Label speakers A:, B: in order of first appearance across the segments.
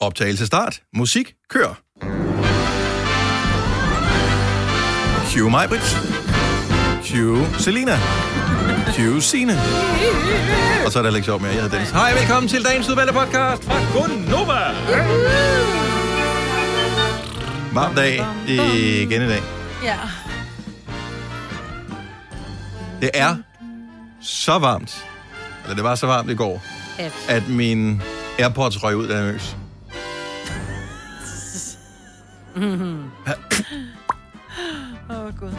A: Optagelse start. Musik kør. Cue Majbrit. Cue Selina. Cue Sine. Og så er der Alex op med, jeg hedder Dennis. Hej, velkommen til dagens udvalgte podcast fra Gunnova. Varm dag igen i dag.
B: Ja.
A: Det er så varmt, eller det var så varmt i går,
B: At.
A: at min AirPods røg ud af en øs.
B: Åh, oh, Gud.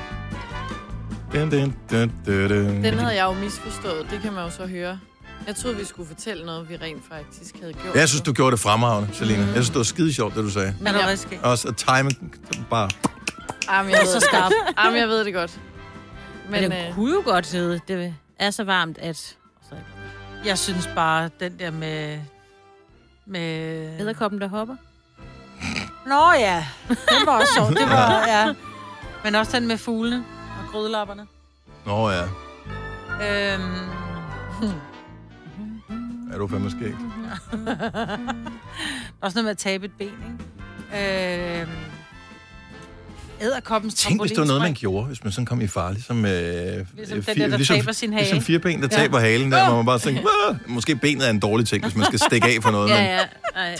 A: Dun, dun, dun, dun, dun.
B: Den havde jeg jo misforstået, det kan man jo så høre. Jeg troede, vi skulle fortælle noget, vi rent faktisk havde gjort.
A: Jeg synes, du gjorde det fremragende, Selina. Jeg synes, det var skide sjovt, det du sagde.
B: Men jeg,
A: Også at timing bare...
B: ah, men jeg,
C: Det
B: ved
C: er så
B: det
C: skarp.
B: godt. Ah, men jeg ved det godt.
C: Men,
B: Men
C: men den
B: øh,
C: kunne jo godt hedde, det er så varmt, at... Jeg synes bare, den der med... Med...
D: Æderkoppen, der hopper.
C: Nå ja, den var også sjov. Det var, ja. Men også den med fuglene og grødlapperne.
A: Nå ja,
C: Øhm,
A: er du fandme skæg.
C: også noget med at tabe et ben, ikke? Øhm, æderkoppens
A: Tænk, hvis det var noget, man
C: trampolinspring.
A: gjorde, hvis man sådan kom i far, ligesom... Øh,
C: Ligesom den der, der taber sin hage,
A: Ligesom
C: ikke?
A: fire ben, der
C: Ja.
A: taber halen, der, hvor man bare tænker, "Åh!" måske benet er en dårlig ting, hvis man skal stikke af for noget.
D: Ja,
A: men,
D: ja. Ej.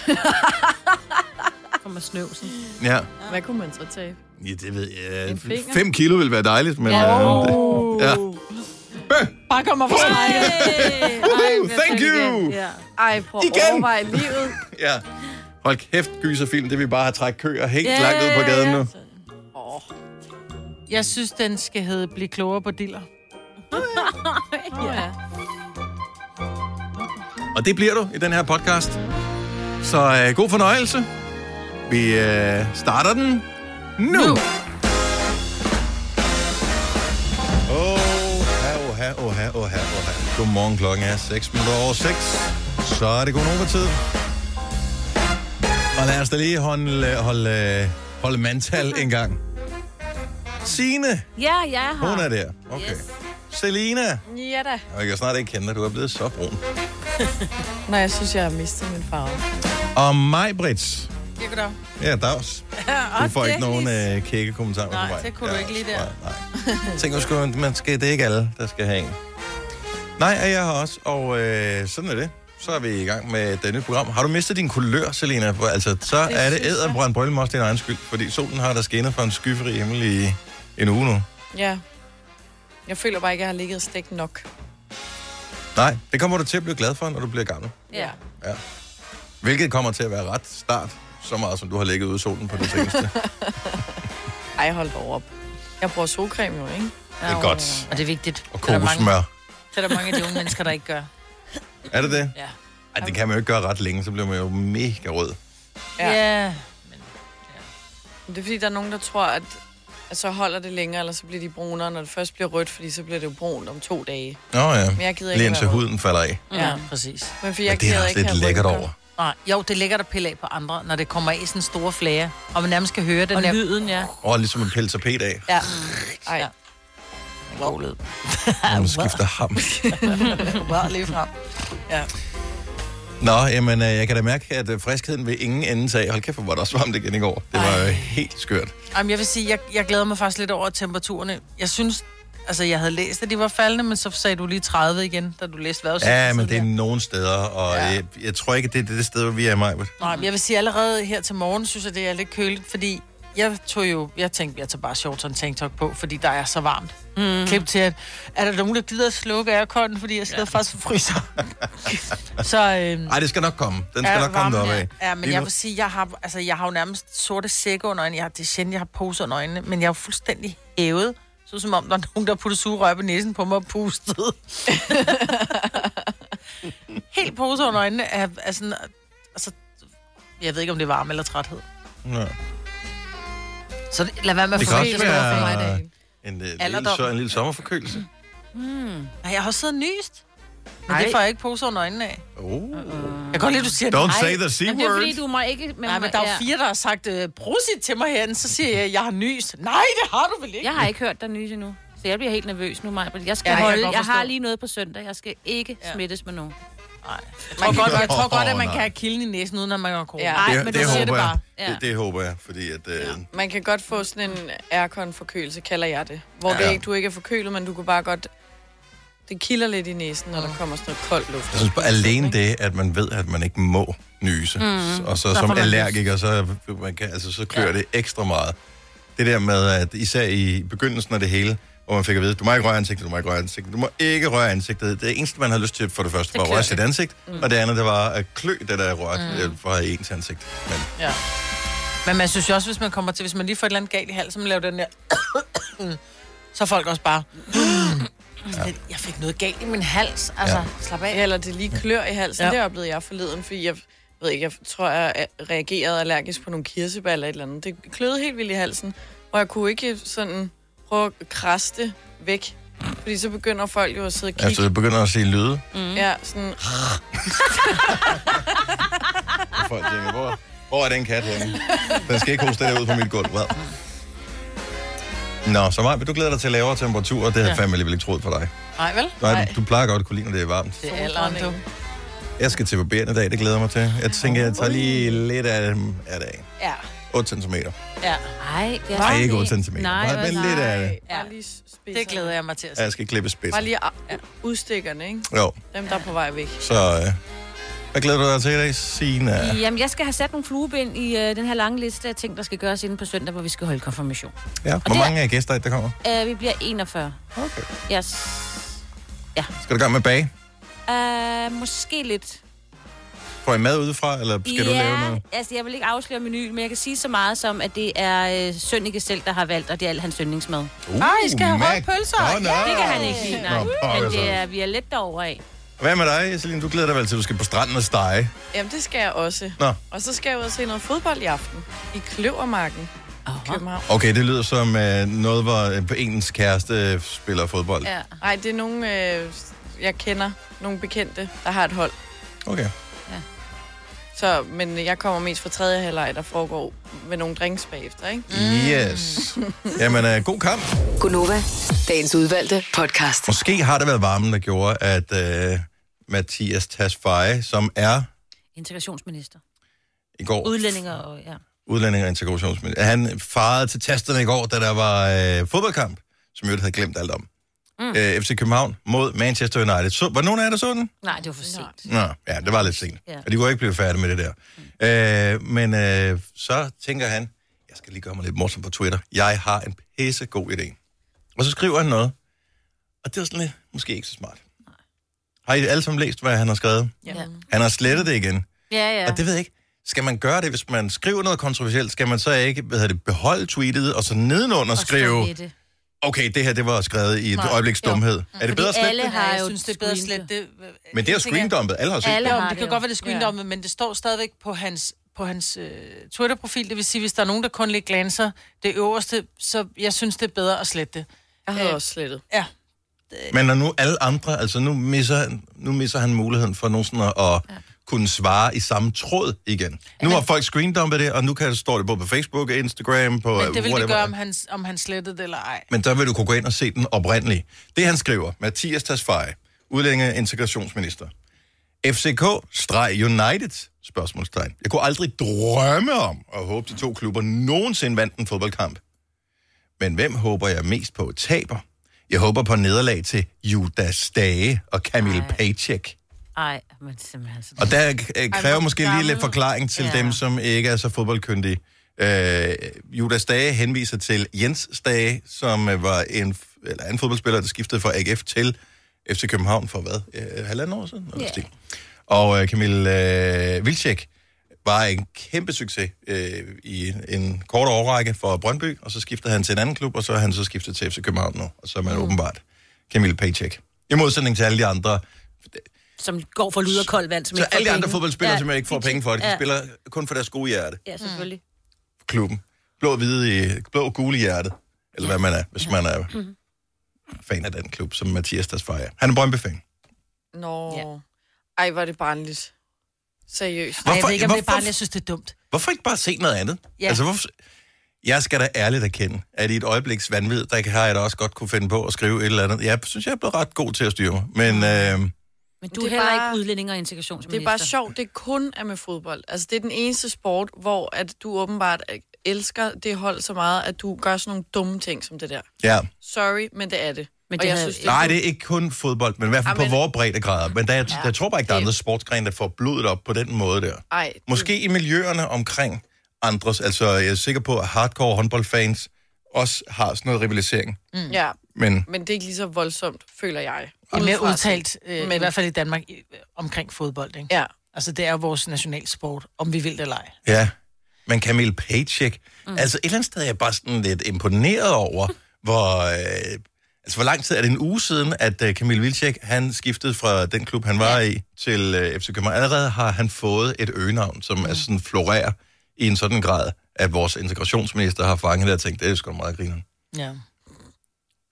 D: Kommer snøvsen.
A: ja.
B: hvad kunne man så tage?
A: ja, det ved jeg.
B: En finger?
A: 5 kilo ville være dejligt, men...
B: Ja.
A: øh, det- ja.
C: Bare kommer fra strækket.
A: Thank you!
C: Ja.
B: Ej, prøv at
A: Igen!
B: overveje livet.
A: Ja. Hold kæft, gyserfilm, det vil bare have trække køer helt
C: Ja,
A: langt ud på gaden
C: ja.
A: nu.
B: Oh,
C: Jeg synes, den skal hedde Bliv klogere på diller.
B: ja.
A: Og det bliver du i den her podcast. Så øh, god fornøjelse. Vi øh, starter den nu. Åh, oh, oha, oha, oha, oha. Godmorgen, klokken er 6 minutter over 6. Så er det god tid. Og lad os da lige holde, holde, holde mandtal en gang. Signe,
D: Ja, jeg er her.
A: hun er der. Okay.
D: Yes.
A: Selina,
B: Ja da.
A: og jeg kan snart ikke kende dig, du er blevet så brun.
B: Nej, jeg synes, jeg har mistet min farve.
A: Og mig, Brits.
C: Jeg kan da.
A: Ja, dags. Du får ikke nogen øh, kække kommentarer
C: Nej,
A: på mig.
C: det kunne du ikke lige der.
A: Nej, nej. Tænk, man skulle, man skal, det er ikke alle, der skal have en. Nej, og jeg har også, og øh, sådan er det. Så er vi i gang med denne program. Har du mistet din kulør, Selena? For, Altså, så er det
B: synes jeg.
A: æderbrændt brølle også din egen skyld, fordi solen har der skinnet fra en skyfri himmel i en uge nu.
B: Ja. Jeg føler bare ikke, jeg har ligget stegt nok.
A: Nej, det kommer du til at blive glad for, når du bliver gammel.
D: Ja.
A: Ja. Hvilket kommer til at være ret start, så meget som du har ligget ude i solen på det seneste.
B: Ej, hold dog op. Jeg bruger solcreme jo, ikke?
A: Det er godt.
C: Og det er vigtigt.
A: Og
C: Det er der mange,
A: kokosmør.
C: det er der mange af de unge mennesker, der ikke gør.
A: Er det det?
C: Ja.
A: Ej, det kan man jo ikke gøre ret længe, så bliver man jo mega rød.
B: Ja.
C: ja.
B: Men Det er fordi, der er nogen, der tror, at, at så holder det længere, eller så bliver de brunere, når det først bliver rødt, fordi så bliver det jo brunt om to dage.
A: Nå ja,
B: Men jeg gider ikke
A: lige indtil
B: være rød.
A: huden falder af.
C: Ja, præcis.
B: Men fordi
A: Men
B: jeg
A: det er
B: gider
A: også
B: ikke
A: lidt
B: have
A: lækkert
B: rynker.
A: over.
C: Nej, jo, det er lækkert at pille af på andre, når det kommer af i sådan store flager, og man nærmest skal høre den
D: Og
C: der...
D: lyden, ja.
A: Og ligesom en peltapet af,
C: Ja.
B: Ej,
C: Ja. God lyd.
A: når man skifter ham.
C: Wow, lige frem.
A: Nå, jamen, øh, jeg kan da mærke, at øh, friskheden vil ingen ende tage. Hold kæft, hvor var det også varmt igen i går. Det var jo helt skørt.
C: Jamen, jeg vil sige, jeg, jeg glæder mig faktisk lidt over temperaturerne. Jeg synes, altså jeg havde læst, at de var faldende, men så sagde du lige 30 igen, da du læste vejret.
A: Ja, men det er nogen steder, og jeg, jeg tror ikke, det er det sted, hvor vi er i maj.
C: Nej, men jeg vil sige, allerede her til morgen, synes jeg, det er lidt køligt, fordi jeg tog jo, jeg tænkte, jeg tager bare shorts og en tanktop på, fordi der er så varmt. Mm. Klip til, at er der nogen, der gider at slukke airconen, fordi jeg sidder ja. faktisk og fryser. så øhm,
A: Ej, det skal nok komme. Den skal nok komme derop
C: varmen er-
A: af.
C: Ja, men
A: Lige
C: jeg
A: nu-
C: vil sige, jeg har, altså, jeg har jo nærmest sorte sække under øjnene. Jeg har, det er sjældent, jeg har poser under øjnene, men jeg er jo fuldstændig hævet. Så som om, der er nogen, der putter sugerør på næsen på mig og pustede. Helt poser under øjnene er, er sådan... Altså, jeg ved ikke, om det er varme eller træthed.
A: Nå. øh,
C: Så det- lad være med at
A: Det kan
C: forvente
A: også
C: det store for mig i
A: være
C: dag.
A: en, en, øh, lille,
C: Alderdom.
A: så, en lille sommerforkølelse.
C: Nej, jeg har også siddet og nyst. Men
D: Ej.
C: det får jeg ikke poser under øjnene af.
A: Oh.
C: Jeg kan godt lide, at du siger
A: Don't
C: nej.
A: say the C
D: Jamen, det er fordi,
A: word.
D: du må ikke... Man
C: Nej,
D: må-
C: men der er jo fire, der har sagt, øh, brusit til mig herinde, så siger jeg, jeg har nys. Nej, det har du vel ikke?
D: Jeg har ikke hørt dig nyse endnu. Så jeg bliver helt nervøs nu, Maja. Jeg skal
C: Ja,
D: ja,
C: jeg kan
D: holde...
C: godt
D: Jeg, jeg har
C: forstå.
D: lige noget på søndag. Jeg skal ikke
C: Ja.
D: ja. smittes med nogen.
C: Nej. Man kan godt, jeg tror godt, at man
A: Åh, nej.
C: kan have kilden i næsen, uden at man har corona.
B: Ja.
C: Nej,
A: det,
C: men
A: det,
C: du siger
A: håber
C: det bare.
A: Jeg.
D: Ja.
A: Det, det håber jeg, fordi at... Øh,
B: Man kan godt få sådan en aircon-forkølelse, kalder jeg det. Hvor ja.
A: Ja.
B: det ikke, du ikke er forkølet, men du kan bare godt... Det kilder lidt i næsen, når der kommer sådan noget koldt luft.
A: Jeg synes bare, alene det, at man ved, at man ikke må nyse, mm. og så,
C: får
A: som
C: man
A: allergiker, så, man kan, altså, så klør ja. det ekstra meget. Det der med, at især i begyndelsen af det hele, hvor man fik at vide, du må ikke røre ansigtet, du må ikke røre ansigtet, du må ikke røre ansigtet. Det eneste, man havde lyst til for det første, var at
D: klør
A: røre
D: det.
A: sit ansigt, mm. og det andet, det var at klø det, der er rørt mm. fra ens ansigt. Men
C: Ja. Men man synes jo også, hvis man kommer til, hvis man lige får et eller andet galt i halsen, man laver den der... så er folk også bare... Sådan lidt, Jeg fik noget galt i min hals. Altså,
A: Ja.
C: ja. slap af.
B: Eller det lige klør i halsen,
C: Ja.
B: ja. det oplevede jeg forleden, fordi jeg ved ikke, jeg tror, jeg reagerede allergisk på nogle kirsebær eller et eller andet. Det kløede helt vildt i halsen, og jeg kunne ikke sådan prøve at krasse det væk. Fordi så begynder folk jo at sidde og kigge.
A: altså, det begynder at se lyde,
B: Ja, sådan,
A: og folk tænker, hvor, hvor er den kat henne? Den skal ikke hoste det ud på mit gulv. Hvad? Nå, så meget. Vil du glæde dig til lavere temperaturer? Det havde jeg fandme alligevel ikke troet for dig.
C: Nej, vel?
A: Nej, du plejer godt at kunne lide, når det er varmt.
C: Det er alderen, du.
A: Jeg skal til barberen i dag, det glæder jeg mig til. Jeg tænker, jeg tager lige lidt af, af det af.
C: Ja.
A: 8 cm.
C: ja.
D: Nej, det er
A: Nej, ikke
D: det
A: 8 cm.
D: Nej,
A: Nej, men
D: nej.
A: lidt af det.
C: Ja.
B: bare lige spidserne.
C: Det glæder jeg mig til at
A: Ja,
C: se.
A: Jeg skal klippe spids.
B: Bare lige ja. udstikkerne, ikke?
A: Jo,
B: Dem, der er på vej væk.
A: så... Øh, hvad glæder du dig til i dag, Signe?
D: Jamen, jeg skal have sat nogle flueben i øh, den her lange liste af ting, der skal gøres inden på søndag, hvor vi skal holde konfirmation.
A: Ja, hvor
D: det-
A: mange af gæster, der kommer?
D: Øh, vi bliver 41.
A: Okay.
D: Yes.
A: Skal du i gang med bage?
D: Øh, måske lidt.
A: Får I mad udefra, eller skal du
D: ja,
A: lave noget?
D: altså jeg vil ikke afsløre menuen, men jeg kan sige så meget som, at det er øh, Sønneke selv, der har valgt, og det er al hans yndlingsmad.
A: Uh,
C: Ej, I skal have røde pølser.
A: Nå, nå.
D: Det kan han ikke lide, nej.
A: Nå, pokker
D: Men
A: så.
D: det er, vi er lidt derovre af.
A: Hvad med dig, Celine? Du glæder dig vel til, at du skal på stranden og stege.
B: Jamen, det skal jeg også.
A: Nå,
B: Og så skal jeg ud og se noget fodbold i aften. I Kløvermarken. i København.
A: okay, det lyder som øh, noget, hvor øh, ens kæreste øh, spiller fodbold.
D: Ja.
B: Nej, det er nogen, øh, jeg kender. Nogle bekendte, der har et hold.
A: Okay.
B: Så, men jeg kommer mest fra tredje halvleg, der foregår med nogle drinks bagefter, ikke?
A: Yes. Jamen, øh, god kamp.
E: Gunova, dagens udvalgte podcast.
A: Måske har det været varmen, der gjorde, at øh, Mathias Tasfaye, som er
D: Integrationsminister.
A: i går
D: Udlændinger og ja.
A: udlænding og integrationsminister, han farede til tasterne i går, da der var øh, fodboldkamp, som jeg havde glemt alt om. Mm. Øh, FC København mod Manchester United. Så, var nogen af jer, der så den?
D: Nej, det var for sent.
A: Nå, ja, det var lidt sent. Ja.
D: Ja.
A: Og de kunne ikke blive færdige med det der. Øh, men øh, så tænker han, jeg skal lige gøre mig lidt morsom på Twitter. Jeg har en pissegod idé. Og så skriver han noget. Og det er sådan lidt, måske ikke så smart. Har I alle sammen læst, hvad han har skrevet?
D: Ja,
A: Han har slettet det igen.
D: ja. ja.
A: Og det ved jeg ikke. Skal man gøre det, hvis man skriver noget kontroversielt? Skal man så ikke hvad hedder det, beholde tweetet, og så nedenunder og
D: Og stå
A: skrive,
D: ved det.
A: okay, det her det var skrevet i et
D: Nej.
A: øjebliks
D: Jo.
A: dumhed. Er det
D: Fordi
A: bedre at slette
D: alle
A: det?
D: har
C: Nej, jeg
D: jo
C: synes, det er bedre
D: screenet.
C: slet. Det,
A: Men det er jo screendumpet. Alle har set
D: Alle
A: det.
C: Jo, men det
D: har det
C: kan
D: jo.
C: godt være, det er screendommet, men det står stadigvæk på hans, på hans øh, Twitter-profil. Det vil sige, hvis der er nogen, der kun lige glanser det øverste, så jeg synes, det er bedre at slette det.
B: Jeg havde også slettet.
C: Ja. Øh,
A: Men når nu alle andre, altså nu misser, nu misser han muligheden for nogen sådan at, at ja. kunne svare i samme tråd igen. Nu har folk screendumpet det, og nu kan står det både på Facebook, Instagram, på
C: Men det vil det
A: whatever.
C: gøre, om han, om han slettede det eller ej.
A: Men der vil du kunne gå ind og se den oprindelige. Det han skriver, Mathias Tasfaye, udlændinge og integrationsminister. FCK-United? Spørgsmålstegn. Jeg kunne aldrig drømme om at håbe, de to klubber nogensinde vandt en fodboldkamp. Men hvem håber jeg mest på taber? Jeg håber på nederlag til Judas Dage og Camille
D: Ej.
A: Paycheck.
D: Ej, men simpelthen. Så...
A: Og der øh, kræver
C: hvor
A: måske lige lidt
C: gammel-
A: forklaring til ja.
D: Ja.
A: dem, som ikke er så fodboldkyndige. Øh, Judas Dage henviser til Jens Dage, som øh, var en, f- eller en fodboldspiller, der skiftede fra AGF til FC København for hvad? Øh, halvanden år siden? Noget
D: Ja.
A: yeah. Og øh, Camille øh, Vilcek var en kæmpe succes øh, i en, en kort årrække for Brøndby, og så skiftede han til en anden klub, og så er han så skiftet til FC København nu, og så er man mm. åbenbart Camille Paycheck. I modsætning til alle de andre
D: Som går for lyd og koldt vand, som
A: så
D: ikke får
A: alle de andre
D: penge.
A: fodboldspillere, ja, som ikke får
D: de-
A: penge for det, de
D: ja.
A: spiller kun for deres gode hjerte.
D: Ja, selvfølgelig.
A: Klubben. Blå, hvide, i- blå og gule i hjertet. Eller hvad man er, hvis man er fan af den klub, som Mathias Dasfajer. Han er Brøndby-fan.
B: Nå.
D: Ja.
B: Ej, var det barnligt. Seriøst.
C: Ej, jeg
A: Hvorfor-
C: ved ikke, om det er
A: hvorfor-
C: bare, jeg synes, det er dumt.
A: Hvorfor ikke bare se noget andet?
C: Ja.
A: Altså, hvorfor... Jeg skal da ærligt erkende, at i et øjebliks vanvid, der har jeg da også godt kunne finde på at skrive et eller andet. Jeg synes, jeg er blevet ret god til at styre mig. Men øh,
D: Men du
B: det
D: er
B: er
D: heller bare,
B: bare-
D: ikke udlænding og
B: Det
D: integrationsminister.
B: er bare sjovt, det kun er med fodbold. Altså, det er den eneste sport, hvor at du åbenbart øh, elsker det hold så meget, at du gør sådan nogle dumme ting som det der.
A: Ja.
B: Sorry, men det er det.
D: Men
B: Og
D: det
B: jeg
D: havde-
B: synes,
A: Nej, det er ikke kun fodbold, men i hvert fald på
B: Amen.
A: vores breddegrader. Men der, jeg, jeg tror bare ikke, der er
B: det-
A: andre sportsgrene, der får blodet op på den måde der.
B: Ej,
A: Måske i miljøerne omkring andres. Altså, jeg er sikker på, at hardcore håndboldfans også har sådan noget rivalisering.
B: det, ja,
A: Men
B: men det er ikke lige så voldsomt, føler jeg.
C: I mere
B: Udefra set.
C: udtalt, øh, men... i
B: Men-
C: hvert fald i Danmark, i, øh, omkring fodbold, ikke?
B: Ja.
C: Altså, det er jo vores nationalsport, om vi vil det eller ej.
A: Ja, men Camille Paycheck, mm. altså et eller andet sted er jeg bare sådan lidt imponeret over, hvor, øh, altså hvor lang tid er det en uge siden, at øh, Camille Vilcek, han skiftede fra den klub, han var ja. i, til øh, FC København. Allerede har han fået et øgenavn, som mm. er sådan florerer i en sådan grad, at vores integrationsminister har fanget det og tænkt, det er sgu da meget griner.
C: Ja. Men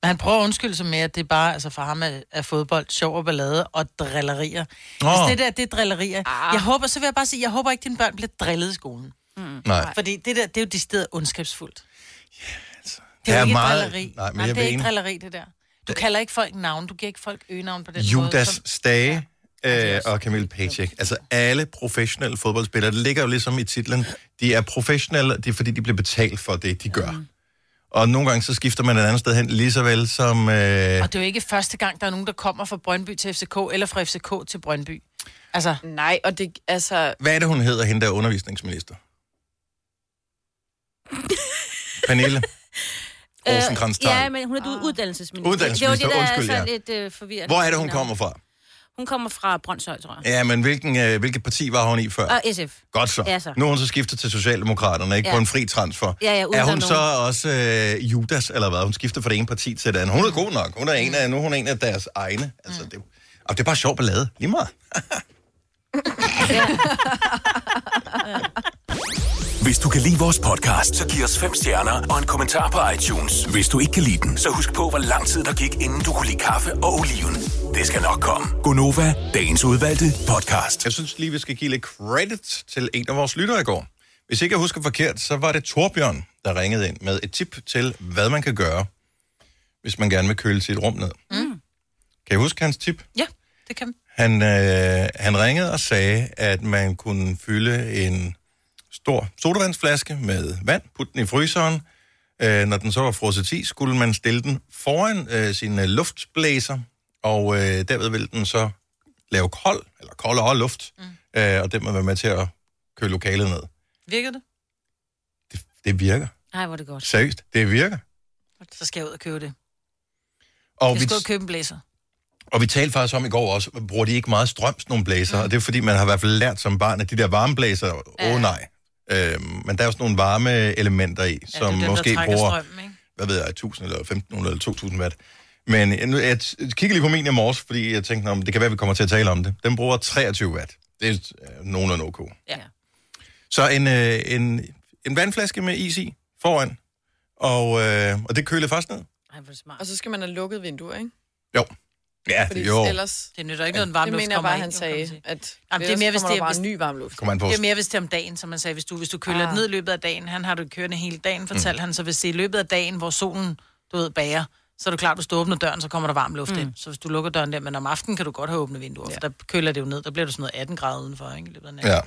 C: han prøver at undskylde sig med, at det er bare, altså for ham er, er fodbold sjov og ballade og drillerier.
A: Nå.
C: Oh. Hvis det der, det er drillerier. Ah. Jeg håber, så vil jeg bare sige, jeg håber ikke, dine børn bliver drillet i skolen.
A: Mm. Nej,
C: Fordi det der, det er jo decideret ondskabsfuldt. Det
A: Der
C: er,
A: er
C: jo ikke
A: altså. meget-
C: meget... drilleri.
A: Nej, men
C: Nej,
A: jeg
C: det
A: vil
C: er ikke
A: enig.
C: drilleri, det der. Du kalder ikke folk navn, du giver ikke folk øgenavn på den måde.
A: Judas
C: som-
A: Stage
C: det er
A: øh,
C: også
A: og Camille Paycheck. Altså alle professionelle fodboldspillere, det ligger jo ligesom i titlen, de er professionelle, det er fordi, de bliver betalt for det, de gør. Og nogle gange så skifter man et andet sted hen, lige så vel som... Øh,
C: Og det er jo ikke første gang, der er nogen, der kommer fra Brøndby til FCK, eller fra FCK til Brøndby. Altså,
B: Nej, og det, altså,
A: hvad er det, hun hedder, hende der er undervisningsminister? Pernille
C: Øh,
A: Rosenkrantz
D: Ja,
A: ja,
D: men hun er ah. uddannelsesminister.
A: Uddannelsesminister,
D: det var det, der
A: undskyld,
D: er
A: ja.
D: sådan lidt øh, forvirrende.
A: Hvor er det, hun kommer fra?
D: Hun kommer fra Brøndshøj, tror jeg.
A: Ja, men hvilken, øh, hvilket parti var hun i før?
D: Og SF.
A: Godt så.
D: Ja, så.
A: Nu er hun så skiftet til Socialdemokraterne, ikke? Ja.
D: Ja.
A: På en fri transfer.
D: Ja, ja, uden
A: er
D: der
A: hun
D: er
A: så også øh, Judas, eller hvad? Hun skifter fra det ene parti til det andet. Hun er god nok. Hun er en af, nu er hun en af deres egne. Altså,
D: Mm.
A: det, og det er bare sjov ballade. Lige meget.
F: Hvis du kan lide vores podcast, så giv os fem stjerner og en kommentar på iTunes. Hvis du ikke kan lide den, så husk på, hvor lang tid der gik, inden du kunne lide kaffe og oliven. Det skal nok komme. Gonova, dagens udvalgte podcast.
A: Jeg synes lige, vi skal give lidt credit til en af vores lyttere i går. Hvis ikke jeg husker forkert, så var det Torbjørn, der ringede ind med et tip til, hvad man kan gøre, hvis man gerne vil køle sit rum ned. Mm. Kan I huske hans tip?
C: ja, det kan
A: Han, øh, han ringede og sagde, at man kunne fylde en stor sodavandsflaske med vand, putte den i fryseren. Øh, når den så var frosset i, skulle man stille den foran øh, sin øh, luftblæser, og øh, derved ville den så lave kold, eller koldere luft, mm. øh, og den må være med til at køle lokalet ned.
C: Virker det?
A: Det, det virker.
D: Nej, hvor er det godt.
A: Seriøst, det virker.
C: Så skal jeg ud og købe det.
A: Og
C: Jeg
A: vi,
C: skal ud og købe en blæser.
A: Og vi talte faktisk om i går også, bruger de ikke meget strøm, sådan nogle blæser? Mm. Og det er fordi, man har i hvert fald lært som barn, at de der varmeblæser, åh ja. oh, nej. Øhm, men der er jo sådan nogle varme elementer i,
C: Ja,
A: ja, som
C: det er dem,
A: måske
C: der trækker
A: bruger,
C: strømmen, ikke?
A: hvad ved jeg, 1000 eller 1500 eller 2000 watt. Men jeg, nu, jeg t- kigger lige på min i morges, fordi jeg tænkte, om det kan være, vi kommer til at tale om det. Den bruger 23 watt. Det er øh, nogenlunde ok.
D: Ja.
A: Så en, øh, en, en vandflaske med is i foran, og, øh, og det køler først ned.
D: Ej, hvor er det smart.
B: og så skal man have lukket vinduer, ikke?
A: Jo. Ja,
B: Fordi
A: jo.
B: ellers,
C: Det nytter ikke noget, en
B: det
C: varm luft
B: mener jeg
C: kommer
B: bare,
C: ind,
B: han
C: jo, kan man
B: sagde,
C: sige.
B: at
C: Jamen, det er mere,
B: ellers
C: hvis
B: kommer
C: det
B: der
C: er-
B: bare
C: hvis-
B: ny varm luft.
A: Kommer an på,
C: Det er mere, hvis det er om dagen, som man sagde, hvis du, hvis du køler ah. ned i løbet af dagen, han har det kørende hele dagen, fortalte mm. han, så hvis det er i løbet af dagen, hvor solen, du ved, bager, så er det klart, hvis du åbner døren, så kommer der varm luft mm. ind. Så hvis du lukker døren der, men om aftenen kan du godt have åbne vinduer, ja. for der køler det jo ned, der bliver du sådan noget 18 grader udenfor, ikke? I løbet af natten.
A: Ja.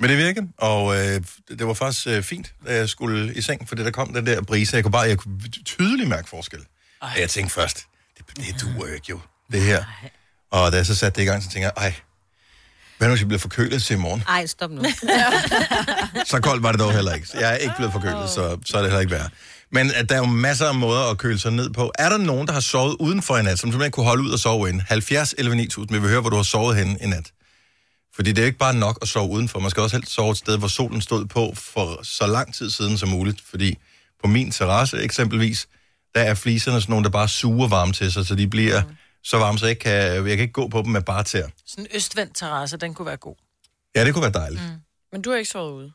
A: Men det virkede, og øh, det var faktisk øh, fint, da jeg skulle i seng, fordi der kom den der brise. Jeg kunne bare jeg kunne tydeligt mærke forskel. Ej. Jeg tænkte først, det, det duer jo ikke jo, det her. Og da jeg så satte det i gang, så tænkte jeg, ej, hvad nu hvis jeg bliver forkølet til i morgen?
D: Ej, stop nu.
A: Så koldt var det dog heller ikke. Jeg er ikke blevet forkølet, så, så er det heller ikke værre. Men at der er jo masser af måder at køle sig ned på. Er der nogen, der har sovet udenfor i nat, som simpelthen kunne holde ud og sove inde? 70 11 9000, vi vil høre, hvor du har sovet henne i nat. Fordi det er jo ikke bare nok at sove udenfor. Man skal også helst sove et sted, hvor solen stod på for så lang tid siden som muligt. Fordi på min terrasse eksempelvis, der er fliserne sådan nogle, der bare suger varme til sig, så de bliver mm. så varme, så jeg ikke kan, jeg kan ikke gå på dem med bare tæer.
C: Sådan en østvendt terrasse, den kunne være god.
A: Ja, det kunne være dejligt. Mm.
B: Men du har ikke sovet ude.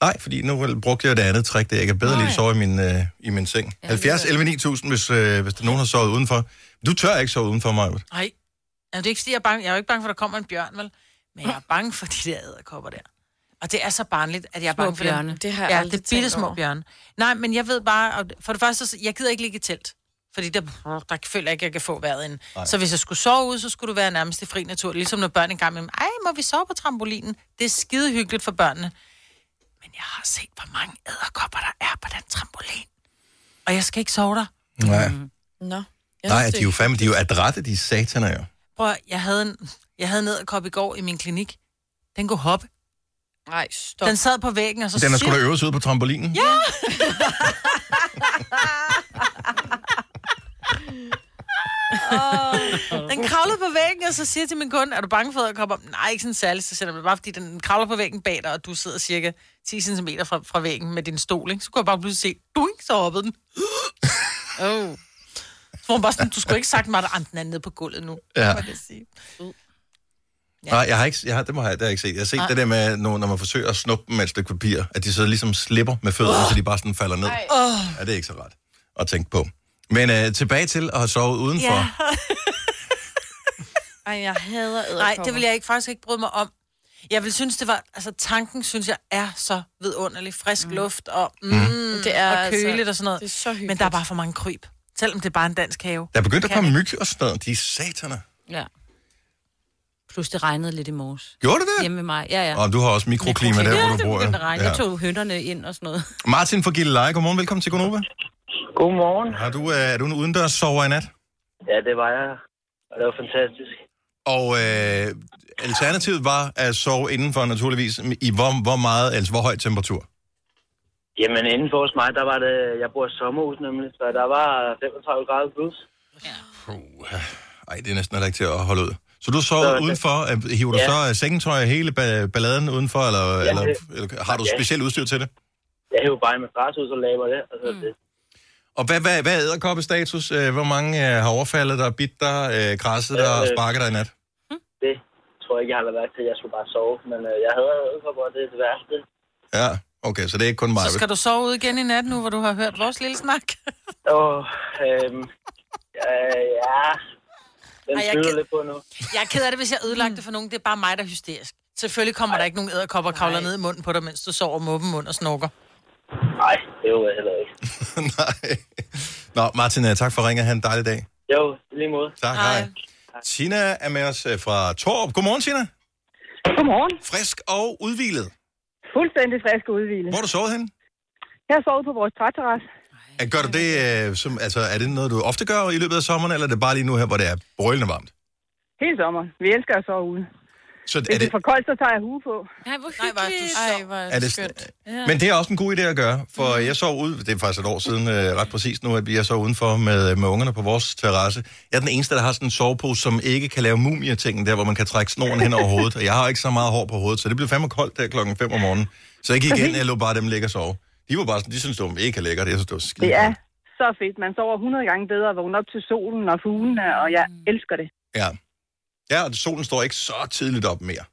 A: Nej, fordi nu brugte jeg det andet trick, der jeg kan bedre lige sove i min, øh, i min seng. Ja, 70, 11, 9000, hvis, øh, hvis der er nogen har sovet udenfor. Du tør ikke sove udenfor mig.
C: Nej. Altså, det er ikke, fordi jeg er bange. Jeg er jo ikke bange for, at der kommer en bjørn, vel? Men jeg er bange for de der æderkopper der. Og det er så barnligt, at jeg er
D: Små
C: bange for
D: bjørne.
C: dem.
B: Det har jeg
C: ja,
B: aldrig
C: det er
B: tænkt
C: bitte små
B: over.
C: bjørne. Nej, men jeg ved bare, og for det første, så- jeg gider ikke ligge i telt. Fordi der, der føler jeg ikke, jeg kan få vejret ind. Så hvis jeg skulle sove ude, så skulle du være nærmest i fri natur. Ligesom når børn engang imellem, ej, må vi sove på trampolinen? Det er skide hyggeligt for børnene. Men jeg har set, hvor mange æderkopper der er på den trampolin. Og jeg skal ikke sove der.
A: Nej,
B: Nå. Jeg
A: Nej
B: synes,
A: de er jo fandme, de er jo adrette, de sataner jo.
C: Prøv, at- jeg havde en, jeg havde en æderkop i går i min klinik. Den kunne hoppe.
B: Nej, stop.
C: Den sad på væggen, og så
A: Den er sgu
C: siger-
A: da øves ud på trampolinen. Ja.
C: Den kravlede på væggen, og så siger jeg til min kunde, er du bange for æderkopper? Nej, ikke sådan særligt. Så siger jeg, bare fordi den kravler på væggen bag dig, og du sidder cirka 10 cm fra, fra væggen med din stol, ikke? så kunne jeg bare pludselig se, du ikke så hoppede den.
B: Oh.
C: Så var hun bare sådan, du skulle ikke sagt mig, at "Ah, den er nede på gulvet nu.
A: Ja.
C: Må jeg sige.
A: Nej, jeg har ikke, jeg har, det må jeg, det har jeg ikke set. Jeg har set det der med, når, når man forsøger at snuppe dem med et stykke papir, at de så ligesom slipper med fødderne, så de bare sådan falder ned. Ja, det er ikke så rart at tænke på. Men øh, tilbage til at have sovet udenfor. Ja.
B: Ej, jeg hader æderkopper.
C: Nej, det vil jeg ikke, faktisk ikke bryde mig om. Jeg vil synes, det var, altså tanken synes jeg er så vidunderlig. Frisk mm. luft og, mm, mm.
B: Det er
C: og køligt altså, og sådan noget.
B: Det er så hyggeligt.
C: Men der er bare for mange kryb. Selvom det er bare en dansk have.
A: Der er begyndt at komme myg og sådan noget. De er sataner.
D: Ja. Plus det regnede lidt i morges.
A: Gjorde det det?
D: Hjemme med mig. Ja, ja.
A: Og du har også mikroklima der, hvor
D: det
A: du bor.
D: begyndte at regne.
A: ja.
D: Jeg tog hønderne ind og sådan noget.
A: Martin fra Gilleleje, godmorgen. Velkommen til Gonova.
G: Godmorgen.
A: Har du, øh, er du en udendørs sover i nat?
G: Ja, det var jeg. Og det var fantastisk.
A: Og øh, alternativet var at sove indenfor naturligvis i hvor, hvor meget, altså hvor høj temperatur?
G: Jamen, inden for hos mig, der var det... Jeg bor i sommerhus nemlig, så der var 35 grader plus.
A: Ej, det er næsten heller ikke til at holde ud. Så du
G: Så er
A: sover
G: det-
A: udenfor, Øh, hiver du
G: Ja.
A: så øh, sengetøj og hele ba- balladen udenfor, eller, ja,
G: Ja,
A: eller,
G: det-
A: eller har du
G: ja.
A: specielt udstyr til det?
G: Jeg hævde bare en madras ud, så laver det. Og så mm. det.
A: Og hvad, hvad, hvad er æderkoppestatus? Øh, Hvor mange øh, har overfaldet dig, bidt dig, øh, krasset dig og
G: Øh,
A: sparket dig i nat?
G: det tror jeg ikke, jeg har lagt mærke til. Jeg skulle bare sove. Men øh, jeg havde ødelkopper, og det er det værste.
A: Ja, okay, så det er ikke kun mig.
C: Så skal du sove ud igen i nat nu, hvor du har hørt vores lille snak.
G: Og øhm, øh, ja... Den
C: Ej, jeg
G: flyder
C: kan-
G: lidt på nu.
C: Jeg er ked af det, hvis jeg ødelagte det for nogen. Det er bare mig, der er hysterisk. Selvfølgelig kommer der ikke nogen æderkopper og kravler ned i munden på dig, mens du sover med åben mund og snorker.
G: Nej, det var jeg heller ikke.
A: Nej. Nå, Martin, øh, tak for ringet. Ha' en dejlig dag.
G: Jo, i lige måde.
A: Tak, hej. Tina er med os øh, fra Torp. Godmorgen, Tina.
H: Godmorgen.
A: Frisk og udvilet.
H: Fuldstændig frisk og udvildet.
A: Hvor har du sovet henne? Jeg
H: har sovet på vores træterrasse.
A: Er, gør du det, øh, som, altså, er det noget, du ofte gør i løbet af sommeren, eller er det bare lige nu her, hvor det er brølende varmt?
H: Hele sommeren. Vi elsker at sove ude.
A: Så
H: Hvis
A: er
H: det
A: det,
H: er for koldt, så tager jeg hue på.
D: Nej, hvor
C: Nej, var du
D: hyggeligt.
B: Ej, hvor
A: er det,
B: skønt.
A: men det er også en god idé at gøre, for jeg sov ud, det er faktisk et år siden, øh, ret præcis nu, at jeg sov udenfor med, med ungerne på vores terrasse. Jeg er den eneste, der har sådan en sovepose, som ikke kan lave mumietingen der, hvor man kan trække snoren hen over hovedet. Og jeg har ikke så meget hår på hovedet, så det blev fandme koldt der klokken 5 om morgenen. Så jeg gik ind, jeg lå bare dem ligge og sove. De var bare sådan, de synes, det var mega lækkert, jeg synes, det var skide
H: Det er så fedt. Man sover 100 gange bedre og vågner op til solen og fuglene, og jeg elsker det.
A: Ja. Ja, og solen står ikke så tidligt op mere.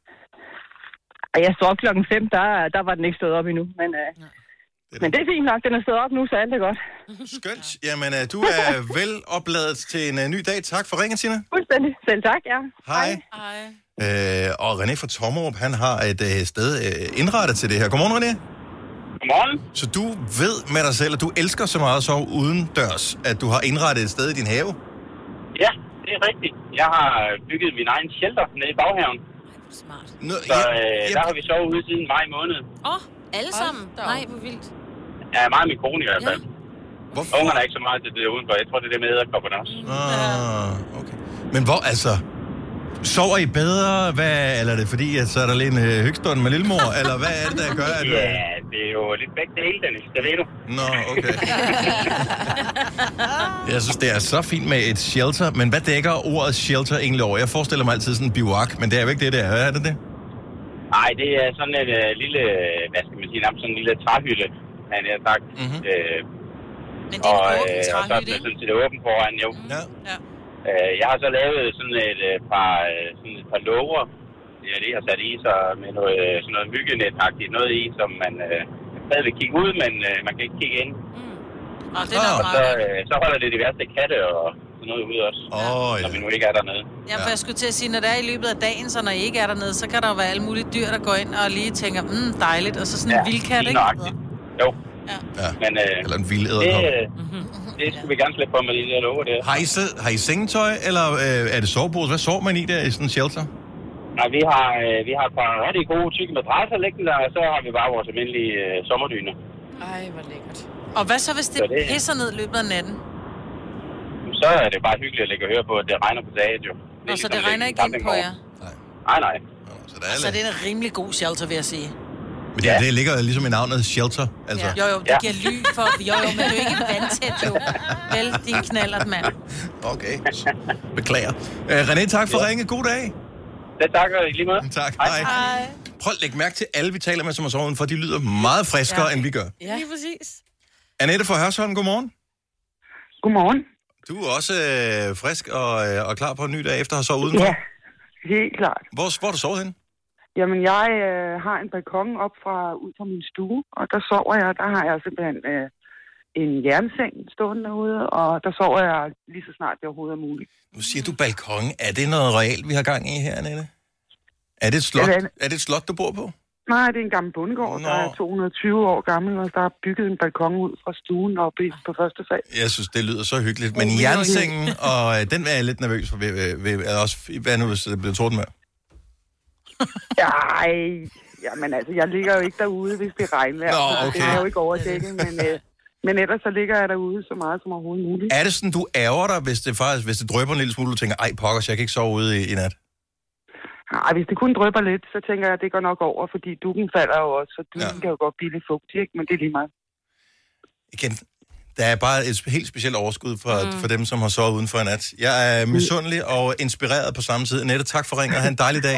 H: Og jeg står op klokken 5, der, der var den ikke stået op endnu. Men, øh, men det er fint nok, den er stået op nu, så alt er godt.
A: Skønt. Jamen, øh, du er vel opladet til en øh, ny dag. Tak for ringen, Tina.
H: Fuldstændig. Selv tak, ja.
A: Hej.
B: Ej.
A: Øh, og René fra Tommerup, han har et øh, sted øh, indrettet til det her. Godmorgen, René.
G: Godmorgen.
A: Så du ved med dig selv, at du elsker så meget at sove uden dørs, at du har indrettet et sted i din have.
G: Ja, det er rigtigt. Jeg har bygget min egen shelter nede i baghaven. øh,
D: Smart.
A: Nå,
G: vi sovet ude siden maj måned.
D: Åh, oh, alle
B: Hold
D: sammen.
B: da op.
D: Nej, hvor vildt.
G: Ja, meget min kone i hvert
D: fald.
A: hvorfor?
G: Ungerne er ikke så meget til det udenfor. Jeg tror, det er det med æderkopperne også.
A: Ah, okay. Men hvor, altså... Sover I bedre? Hvad, eller er det fordi, at så er der lige en øh, hygstund med lillemor? eller hvad er det, der gør, at... øh,
G: Ja, det er jo lidt begge dele, Dennis. Det ved du.
A: Nå, okay. jeg synes, det er så fint med et shelter, men hvad dækker ordet shelter egentlig over? Jeg forestiller mig altid sådan en biwak, men det er jo ikke det, det er. Er det det?
G: Nej, det er sådan en øh, lille, øh, hvad skal man sige, nærmest sådan en lille træhytte, han har sagt.
A: Mhm.
G: Øh,
C: Men det er
G: og,
C: en
G: øh,
C: åben
G: og så er
C: træhytte,
G: det
C: ikke?
G: sådan set åben foran, jo.
A: Ja.
G: Øh, jeg har så lavet sådan et øh, par, øh, sådan et par låger, ja, det jeg har sat i, så med noget, øh, sådan noget myggenetagtigt noget i, som man øh, stadig vil kigge ud, men øh, man kan ikke kigge ind.
C: Og det er
A: Ah.
C: der
G: Så,
C: meget.
G: øh, så holder det de værste katte og sådan noget ude også,
A: Åh, oh,
G: når vi
A: ja.
G: nu ikke er dernede.
C: Ja, for jeg skulle til at sige, når det er i løbet af dagen, så når I ikke er dernede, så kan der jo være alle mulige dyr, der går ind og lige tænker, mm, dejligt, og så sådan en vildkat,
G: lige
C: ikke?
G: nøjagtigt. Jo,
A: ja.
G: men øh,
A: Eller en vild
G: det,
A: æderkop.
G: øh, det skulle vi gerne slippe på med de der låger der.
A: Har I, sed, har I sengetøj, eller øh, er det sovepose? Hvad sover man i der i sådan en shelter?
G: Nej, vi har, øh, vi har et par rigtig gode tykke madrasser liggende der, og så har vi bare vores almindelige øh, sommerdyner.
B: Ej, hvor lækkert.
C: Og hvad så, hvis det
G: Ja, det er-
C: pisser ned i løbet af natten?
G: Så er det bare hyggeligt at ligge og høre på, at det regner på dagen jo. er
C: Nå, så
G: ligesom
C: det
G: lidt
C: regner
G: en
C: ikke ind på
G: campingvogn.
C: jer.
G: Nej, nej.
A: Nå, Så der er
C: Så Altså, det er en rimelig god shelter, vil jeg sige.
A: Men det, det ligger ligesom i navnet shelter, altså.
C: Jo, jo, det
G: Ja.
C: giver ly for... Jo, jo, men det er jo ikke vandtæt, jo. Vel, din knallert, mand.
A: Okay, beklager. Øh, René, tak for ja. ringe. God dag.
G: Det takker jeg lige med.
A: Tak, hej. hej. Prøv at lægge mærke til alle, vi taler med, som har sovet udenfor. De lyder meget friskere, ja. end vi gør.
B: Ja. Lige præcis.
A: Annette fra Hørsholm, godmorgen.
H: Godmorgen.
A: Du er også øh, frisk og, øh, og klar på en ny dag efter at have sovet udenfor.
H: Ja,
A: Ja.
H: helt klart.
A: Hvor, hvor har du sovet henne?
H: Jamen, jeg øh, har en balkon op fra ud fra min stue, og der sover jeg. Der har jeg simpelthen øh, en jernseng stående derude, og der sover jeg lige så snart det overhovedet er muligt.
A: Nu siger du balkon. Er det noget realt, vi har gang i her, Annette? Er det et slot,
H: Ja, det er
A: er det et slot du bor på?
H: Nej, det er en gammel bondegård, der
A: Nå.
H: er 220 år gammel, og der er bygget en balkon ud fra stuen op i, på første sal.
A: Jeg synes, det lyder så hyggeligt. Men jernsengen, og øh, den er jeg lidt nervøs for. Ved, ved, ved, er også, hvad nu, hvis det bliver torden med?
H: Ej, jamen altså, jeg ligger jo ikke derude, hvis det er regnvejr.
A: Nå,
H: så Det
A: okay.
H: kan jeg jo ikke overdækket, men, øh, men ellers så ligger jeg derude så meget som overhovedet muligt.
A: Er det sådan, du ærger dig, hvis det, faktisk, hvis det drøber en lille smule, du tænker, ej pokkers, jeg kan ikke sove ude i, i nat?
H: Nej, hvis det kun drøber lidt, så tænker jeg, at det går nok over, fordi dukken falder jo også, så dukken
A: Ja.
H: ja. kan jo godt blive lidt fugtig, ikke? men det er lige meget.
A: igen, der er bare et helt specielt overskud for, mm. for dem, som har sovet uden for en nat. Jeg er misundelig og inspireret på samme tid. Nette, tak for ringen, og have en dejlig dag.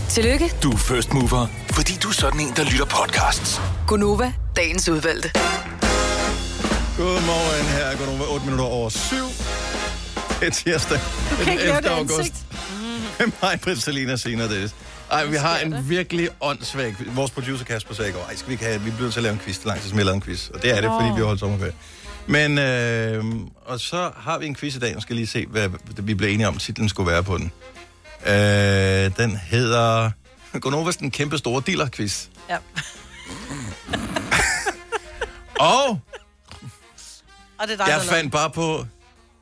E: Tillykke,
F: Du er first mover, fordi du er sådan en, der lytter podcasts.
E: Gunova, dagens udvalgte.
A: Godmorgen her. er Godmorgen 8 minutter over 7. Det er tirsdag. Du kan ikke lave det ansigt. Med mig, Britt, Selina, Sina, det ej, vi har en virkelig åndssvag quiz. Vores producer Kasper sagde i går, ej, skal vi ikke have, vi bliver nødt til at lave en quiz, det er lang tid, som jeg lavede en quiz. Og det er det, fordi vi har holdt sommerferie. Men, øh, og så har vi en quiz i dag, nu skal jeg lige se, hvad vi blev enige om, titlen skulle være på den. Øh, den hedder, Gonovas den kæmpe store dealer-quiz.
C: Ja.
A: og
C: Og det er dig,
A: jeg
C: der laver-
A: fandt bare på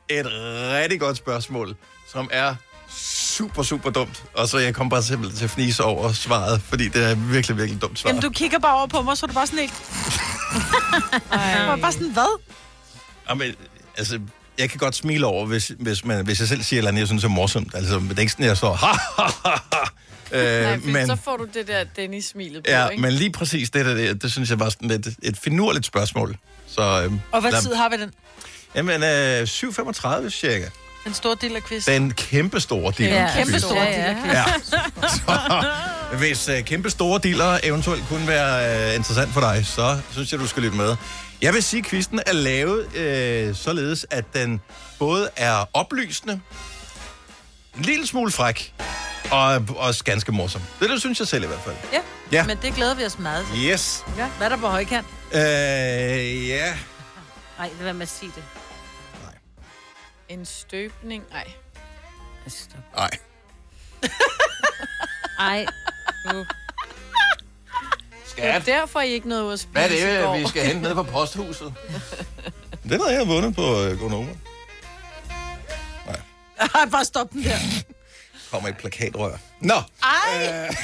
A: et rigtig godt spørgsmål, som er super, super dumt. Og så jeg kom bare simpelthen til at fnise over svaret, fordi det er virkelig, virkelig dumt svar.
C: Jamen, du kigger bare over på mig, så er du bare sådan helt... Ej. Bare sådan, hvad?
A: Jamen, altså, jeg kan godt smile over, hvis, hvis, man, hvis jeg selv siger et eller andet, jeg synes er morsomt. Altså, men det er ikke sådan, jeg står, ha, ha, ha, ha. Øh,
B: Nej, men... så får du det der Dennis-smilet på,
A: ja,
B: ikke?
A: men lige præcis det der, det, det synes jeg var sådan lidt et finurligt spørgsmål. Så, øhm,
C: Og hvad
A: lad-
C: tid har vi den?
A: Jamen, øh, 7.35 cirka.
C: Den store del af quiz.
A: Den kæmpe store del. Ja,
C: Kæmpe store
D: Ja,
C: del
D: ja.
C: af quiz.
A: Ja. Så, hvis øh, kæmpe store dealer eventuelt kunne være øh, interessant for dig, så synes jeg, du skal lytte med. Jeg vil sige, at quizzen er lavet øh, således, at den både er oplysende, en lille smule fræk, og også ganske morsom. Det, det synes jeg selv i hvert fald.
C: Ja.
A: Ja.
C: ja. Men det glæder vi os meget til.
A: Yes.
C: Ja. Hvad er der på højkant?
A: Øh, ja.
D: Nej, lad være med at sige det.
B: En støbning? Nej.
D: Altså, stop.
A: Nej.
D: Ej,
B: Det er derfor, I ikke nåede ud at spise i går.
A: skal hente nede på posthuset? Den har jeg vundet på øh, Gonova.
C: Ej, bare stop den der.
A: Kommer et plakatrør. Nå.
C: Ej!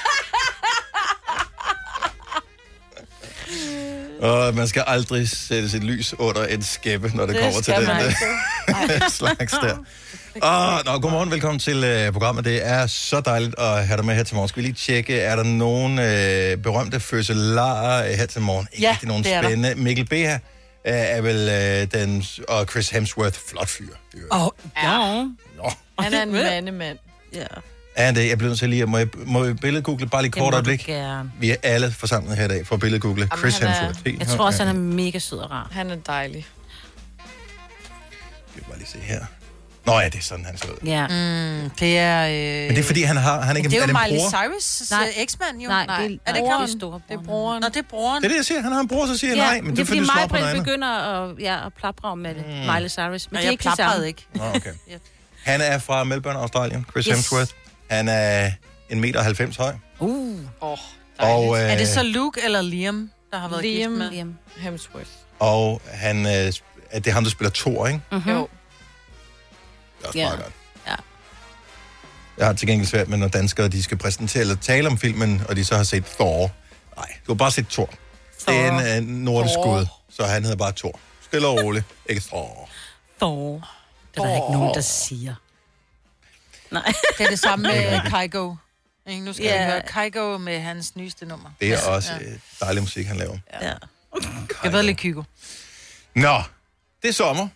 A: Og Øh. man skal aldrig sætte sit lys under en skæppe, når det, det kommer til den der, slags der. Og, nå, godmorgen, velkommen til øh, programmet. Det er så dejligt at have dig med her til morgen. Skal vi lige tjekke, er der nogen øh, berømte fødselarer øh, her til morgen? Ikke
C: Ja,
A: rigtig nogen
C: det er der.
A: spændende. Der. Mikkel Beha øh, er vel øh, den, og Chris Hemsworth, flot fyr. i øvrigt.
C: Åh, oh, ja.
A: Nå.
B: Han er en mandemand.
C: ja.
A: Er han det? Jeg bliver nødt til lige, at- må jeg, må jeg billedgoogle bare lige
D: det må
A: kort
D: du
A: øjeblik?
D: gerne.
A: Vi er alle forsamlet her i dag for at billedgoogle Chris
B: han er-
A: Hemsworth. Helt
D: Jeg tror også,
A: højt.
D: han er mega sød og rar.
B: Han er dejlig.
A: bare lige se her. Nå ja, det er sådan, han ser ud.
D: Ja.
C: Mm, det er... Øh...
A: Men det er fordi, han har... Han er ikke,
C: det er
A: det
C: jo
A: en
C: Miley
A: bror?
C: Cyrus'
D: Nej.
C: øh, eksmand, jo.
D: Nej, det er-
C: er det
D: nej,
C: broren?
D: det er storebror.
C: Det er broren. Nå, det er broren.
A: Det er det, jeg siger. Han har en bror, så siger jeg nej, men det,
D: det er
A: fordi,
D: fordi
A: du slår på Mm. noget
D: mig
A: andet.
D: begynder at, ja, at plapre om med det. Miley Cyrus. Men
C: Og
D: det er
C: jeg
D: ikke det samme.
C: plaprede
D: Ikke.
C: ikke.
A: Nå, okay. Han er fra Melbourne, Australien. Chris
D: Yes.
A: Hemsworth. Han er en meter 90 høj.
D: Uh,
B: Åh, oh,
A: Og, øh,
C: Er det så Luke eller Liam, der har været
B: Liam.
C: gift med?
D: Liam.
B: Hemsworth.
A: og han, øh, er det er ham, der spiller Thor, ikke?
B: Mm-hmm. Jo.
A: Det er også
D: Ja.
A: meget godt.
D: Ja.
A: Jeg har til gengæld svært med, når danskere de skal præsentere eller tale om filmen, og de så har set Thor. Nej, du har bare set Thor. Thor. Det er en øh, nordisk
B: Thor.
A: gud, så han hedder bare Thor. Stille og roligt. Ikke Thor.
D: Thor. Det er der ikke nogen, der siger. Nej.
C: Det er det samme med øh, Kygo. Ikke? Nu skal
D: Ja.
C: yeah. vi høre Kygo med hans nyeste nummer.
A: Det er også øh, dejlig musik, han laver.
D: ja.
C: Jeg ved lidt Kygo.
A: Nå, det er sommer,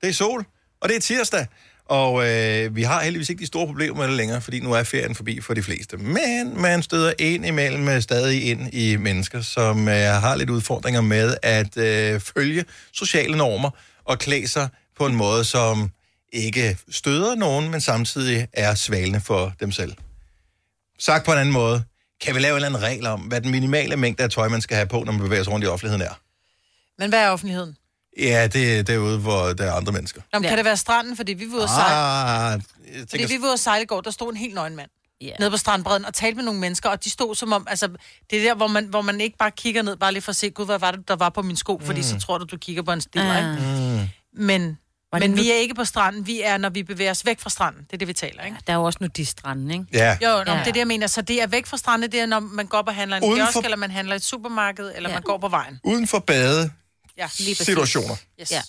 A: det er sol, og det er tirsdag. Og øh, vi har heldigvis ikke de store problemer med det længere, fordi nu er ferien forbi for de fleste. Men man støder ind imellem øh, stadig ind i mennesker, som øh, har lidt udfordringer med at øh, følge sociale normer og klæde sig på en måde, som ikke støder nogen, men samtidig er svalende for dem selv. Sagt på en anden måde, kan vi lave en eller anden regel om, hvad den minimale mængde af tøj, man skal have på, når man bevæger sig rundt i offentligheden er?
C: Men hvad er offentligheden?
A: Ja, det er derude, hvor der er andre mennesker.
C: Nå, men
D: Ja.
C: kan det være stranden? Fordi vi var ude at sejle, ah,
A: Ah, jeg
C: fordi
A: tænker,
C: vi var ude at sejle i går, der stod en helt nøgen mand
D: Ja.
C: nede på strandbredden og talte med nogle mennesker, og de stod som om, altså, det er der, hvor man, hvor man ikke bare kigger ned, bare lige for at se, gud, hvad var det, der var på min sko, fordi så tror du, du kigger på en stiller,
D: Ah.
C: ikke? Men,
D: Var
C: men
D: det nu-
C: vi er ikke på stranden, vi er, når vi bevæger os væk fra stranden, det er det, vi taler, ikke?
D: Der er jo også nudistranden, ikke?
A: ja,
C: Jo, nå, men
D: Ja.
C: det er det, jeg mener. Så det er væk fra stranden, det er, når man går op og handler i en
A: Uden for-
C: kiosk, eller man handler i et supermarked, eller
D: Ja.
C: man går på vejen.
A: uden for
C: Ja,
A: badesituationer.
C: Yes.
D: Ja.
C: Ja.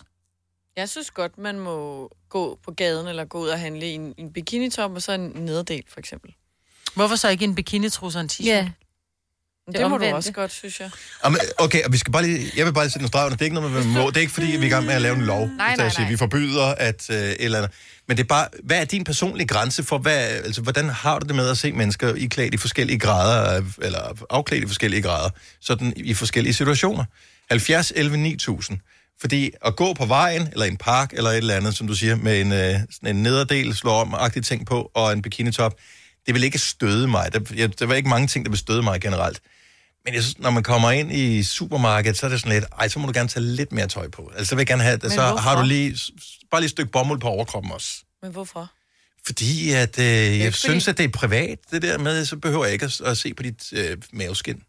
B: Jeg synes godt, man må gå på gaden eller gå ud og handle i en, en bikinitop og så en nederdel, for eksempel.
C: Hvorfor så ikke en bikinitrus og en t-shirt?
D: Ja.
B: Men det,
D: Det
B: det må du
D: omvendte.
B: også godt, synes jeg.
A: Jamen, Okay, og vi skal bare lige, jeg vil bare lige sætte en streg under. Det er ikke noget med, hvad man må. Det er ikke fordi, vi er i gang med at lave en lov. Nej, nej, nej. Vi forbyder at øh, et eller andet. Men det er bare, hvad er din personlige grænse for, hvad, altså, hvordan har du det med at se mennesker i klædt i forskellige grader, øh, eller afklædt i forskellige grader, sådan i forskellige situationer? 70, 11, 9000. Fordi at gå på vejen, eller i en park, eller et eller andet, som du siger, med en, øh, sådan en nederdel, slå om agtig ting på, og en bikinitop, det vil ikke støde mig. Der, jeg, der var ikke mange ting, der vil støde mig generelt. Men jeg synes, når man kommer ind i supermarkedet, så er det sådan lidt, ej, så må du gerne tage lidt mere tøj på. Altså, så vil jeg gerne have, så
B: hvorfor?
A: har du lige, s- s- bare lige et stykke bomuld på overkroppen også.
B: Men hvorfor?
A: Fordi at, øh, jeg
B: ikke
A: synes,
B: fordi-
A: at det er privat, det der med, så behøver jeg ikke at, at se på dit øh, maveskin.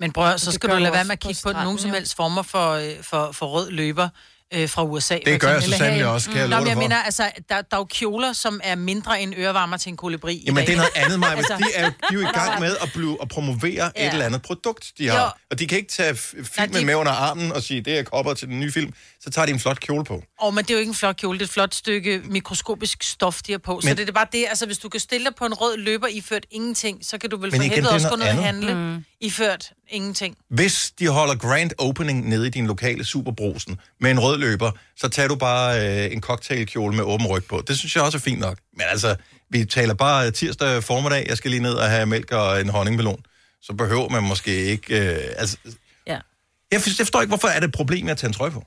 C: Men bror, så
B: det
C: skal
B: gør
C: du lade
B: du
C: være
B: også
C: med at
B: på
C: kigge på,
B: stranden,
C: nogen som
B: jo.
C: helst former for, øh, for, for rød løber øh, fra USA.
A: Det gør jeg så sandelig
C: sandelig
A: også, kan jeg
C: Nå,
A: love
C: men
A: dig
C: jeg
A: for.
C: mener, altså, der, der er jo kjoler, som er mindre end ørevarmer til en kolibri i
A: Jamen,
C: dag.
A: det er noget andet, Maja.
C: Altså-
A: De er jo, de er jo i gang med at, blive, at promovere ja. et eller andet produkt, de har.
C: Jo.
A: Og de kan ikke tage f- filmen
C: de-
A: med under armen og sige, det er kopper til den nye film. Så tager de en flot kjole på.
C: Åh, men det er jo ikke en flot kjole, det er et flot stykke mikroskopisk stof, de har på. Men... Så
A: Men-
C: det er bare det, altså hvis du kan stille dig på en rød løber iført ingenting, så kan du vel
A: Men
C: for
A: igen,
C: helvede
A: det er
C: også gå ned
A: noget
C: og handle mm. iført ingenting.
A: Hvis de holder grand opening nede i din lokale superbrosen med en rød løber, så tager du bare øh, en cocktailkjole med åben ryg på. Det synes jeg også er fint nok. Men altså, vi taler bare tirsdag formiddag, jeg skal lige ned og have mælk og en honningmelon. Så behøver man måske ikke... Øh, altså,
D: Ja.
A: jeg forstår, jeg forstår ikke, hvorfor er det et problem med at tage en trøje på?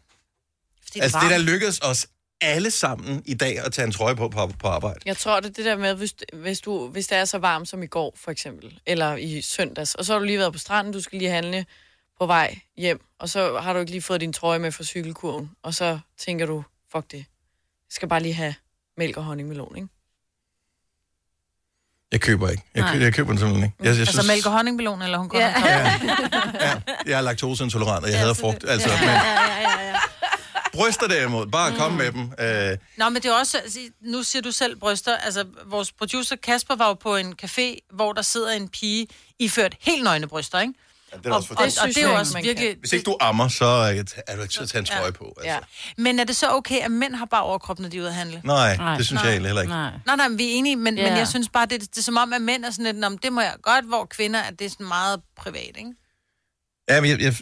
C: Fordi
A: Altså,
C: varmt.
A: det der lykkedes os alle sammen i dag at tage en trøje på på, på arbejde.
B: Jeg tror, det er det der med, hvis, hvis, du, hvis det er så varmt som i går, for eksempel, eller i søndags, og så har du lige været på stranden, du skal lige handle på vej hjem, og så har du ikke lige fået din trøje med fra cykelkurven, og så tænker du, fuck det, jeg skal bare lige have mælk og honningmelon, ikke?
A: Jeg køber ikke. Jeg, kø,
D: Nej.
A: jeg køber den simpelthen ikke. Jeg, jeg
C: Altså mælk og honningballon, eller hun går ja.
A: Jeg er laktoseintolerant, og jeg hader frugt. Altså, men... Bryster derimod, bare kom med dem. Øh,
C: Nå, men det er også, altså, nu siger du selv bryster, altså vores producer Kasper var jo på en café, hvor der sidder en pige iført helt nøgne bryster, ikke?
A: Ja, det er
C: og,
A: også for
C: og, og,
A: dumt.
C: det er
B: jeg
C: jo
B: ikke,
C: også
B: man
C: virkelig...
A: Hvis ikke du ammer, så er jeg- er du ikke til at tage en trøje på. Altså.
B: Ja.
C: Men er det så okay, at mænd har bare overkrop, når de er ude at handle?
A: Mm. Nej, det synes jeg egentlig heller ikke.
D: Nej.
C: Nej, nej, men vi er enige, men, yeah.
D: Ja.
C: men jeg synes bare, det, det, er som om, at mænd er sådan lidt, "Nå, men det må jeg godt, hvor kvinder, at det er sådan meget privat, ikke?
A: Ja, men jeg, jeg,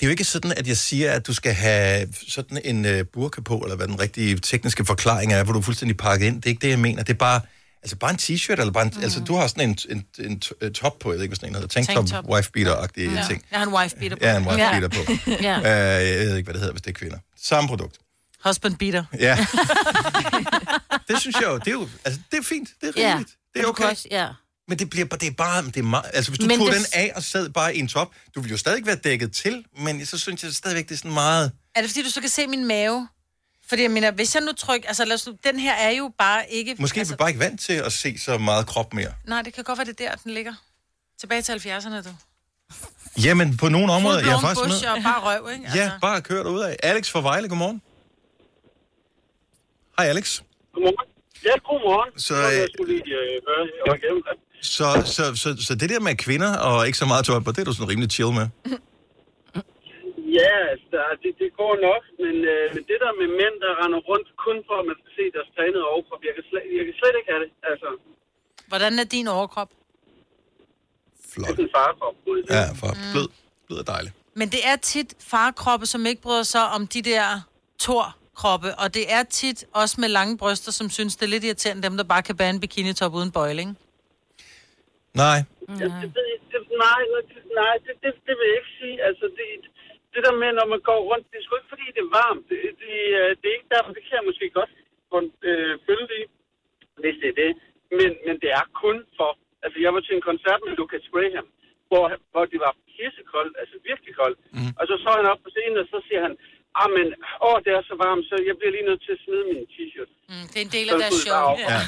A: det er jo ikke sådan, at jeg siger, at du skal have sådan en øh, burka på, eller hvad den rigtige tekniske forklaring er, hvor du er fuldstændig pakket ind. Det er ikke det, jeg mener. Det er bare, altså bare en t-shirt, eller bare en, mm. altså du har sådan en, en, en, t- øh, top på, jeg ved ikke, hvad sådan en hedder, tanktop,
C: Tanktop.
A: wife beater-agtige ja. ting.
C: Jeg har en wife beater på.
A: Ja, en wife
D: Ja.
A: beater på.
D: Ja.
A: Øh, jeg ved ikke, hvad det hedder, hvis det er kvinder. Samme produkt.
C: Husband beater.
A: Ja. det synes jeg jo, det er jo, altså, det er fint, det er
D: Ja.
A: rimeligt, ja. det er
D: Du kan
A: okay.
D: Også, ja.
A: Men det bliver bare, det er bare, det er meget, altså hvis du
D: Men
A: tog
D: det-
A: den af og sad bare i en top, du ville jo stadig være dækket til, men så synes jeg stadigvæk, det er sådan meget,
C: Er det fordi, du så kan se min mave? Fordi jeg mener, hvis jeg nu trykker... Altså, lad os nu, den her er jo bare ikke...
A: måske altså... er
C: altså,
A: vi bare ikke vant til at se så meget krop mere.
C: Nej, det kan godt være, det er der, den ligger. Tilbage til 70'erne, du.
A: Jamen, på nogle områder, jeg er
C: Fuldblom,
A: faktisk med.
C: bush og bare røv, ikke? Altså,
A: Ja,
D: altså.
A: bare kørt ud af. Alex fra Vejle, godmorgen. Hej Alex.
I: Godmorgen. Ja, godmorgen.
A: Så,
I: Nå,
A: øh,
I: jeg skulle lige øh, høre, jeg var igennem det.
A: Så, så, så, så det der med kvinder og ikke så meget tøj på, det er du sådan rimelig chill med.
I: Ja, altså, det, det går nok, men, øh, men det der med mænd, der render rundt kun for, at man skal se deres trænede overkrop, jeg kan, slet, jeg kan slet ikke have det. Altså,
C: Hvordan er din overkrop?
I: det er sådan en farkrop.
A: Ja, for mm. blød, blød og dejlig.
C: Men det er tit farkroppe, som ikke bryder sig om de der torkroppe, og det er tit også med lange bryster, som synes, det er lidt irriterende, dem der bare kan bære en bikinitop uden bøjling.
A: Nej.
I: Ja. Det, ved jeg- det, nej, det, nej det, det, det vil jeg ikke sige. Altså, det, det der med, når man går rundt, det er sgu ikke, fordi det er varmt. Det, det, øh, det er ikke derfor, det kan jeg måske godt få en øh, følge i, hvis det er det. Men, men det er kun for... Altså, jeg var til en koncert med Lucas Graham, hvor, hvor det var pissekoldt, altså virkelig koldt. Mm. Og så så han op på scenen, og så siger han, ah, men, åh, det er så varmt, så jeg bliver lige nødt til at smide min t-shirt.
C: Mm, det er en del
I: af Så deres skulle det show. bare op.
A: Ja.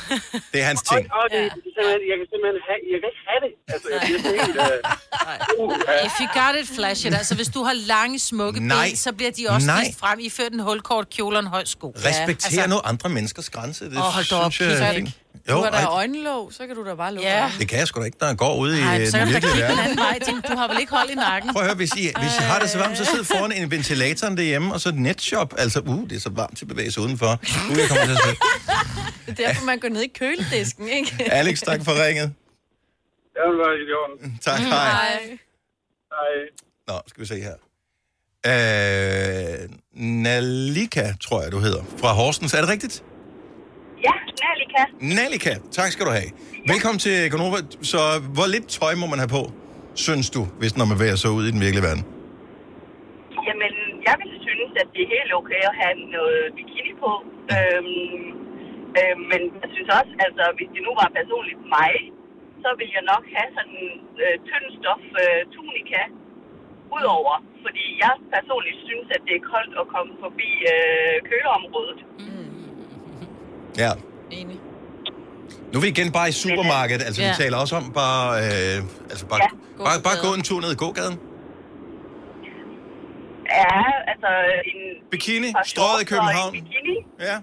A: Det er hans
I: Og,
A: ting.
I: og det, det er simpelthen, jeg kan simpelthen have, jeg kan ikke have det. Altså, jeg bliver sådan helt... Øh, uh,
C: If you got it, flash it. Altså, hvis du har lange, smukke
A: Nej.
C: ben, så bliver de også
A: Nej.
C: vist frem. I fører den hulkort kjole og en høj sko.
A: Respekter ja, altså... nu andre menneskers grænse. Det
C: Åh, hold da op,
A: synes jeg er
C: Peter.
A: fint.
B: Jo,
A: Jo,
B: du har da
A: ej,
B: øjenlåg, så kan du da bare lukke
C: Ja.
B: øjnene.
A: det kan jeg sgu da ikke, når jeg går ude i øh,
C: altså, Ej,
A: den
C: så kan du
A: virkelige
C: da kigge den
A: verden.
C: anden vej. Tænk, du har vel ikke hold i nakken?
A: Prøv at høre, hvis I, hvis I har det så varmt, så sid foran en ventilatoren derhjemme, og så et netshop. Altså, uh, det er så varmt til at bevæge sig udenfor. Uh, jeg kommer til at sige.
B: Det er derfor, man går ned i køledisken, ikke?
A: Alex, tak for ringet.
I: jeg var i orden.
A: Tak, hej.
B: Nej.
I: Hej.
J: Øh,
A: Nå, skal vi se her. Øh, Nalika, tror jeg, du hedder. Fra Horsens. Er det rigtigt?
J: Ja, Nalika.
A: Nalika, tak skal du have. Velkommen til Gonova. Så hvor lidt tøj må man have på, synes du, hvis når man værer så ud i den virkelige verden?
J: Jamen, jeg vil synes, at det er helt okay at have noget bikini på. Øhm, øhm, men jeg synes også, altså, hvis det nu var personligt mig, så ville jeg nok have sådan en øh, tynd stof øh, tunika udover. Fordi jeg personligt synes, at det er koldt at komme forbi øh, køleområdet.
A: Ja.
B: Enig.
A: Nu er vi igen
J: øh,
A: bare i supermarkedet. Altså, vi
D: Ja.
A: taler også om bare... Øh, altså, bare,
J: Ja,
A: bare, bare
D: gågaden.
A: gå en tur ned i gågaden.
J: Ja, altså en...
A: Bikini,
J: et par
A: strøget i
J: shorts og en
A: København.
J: Bikini,
A: Ja.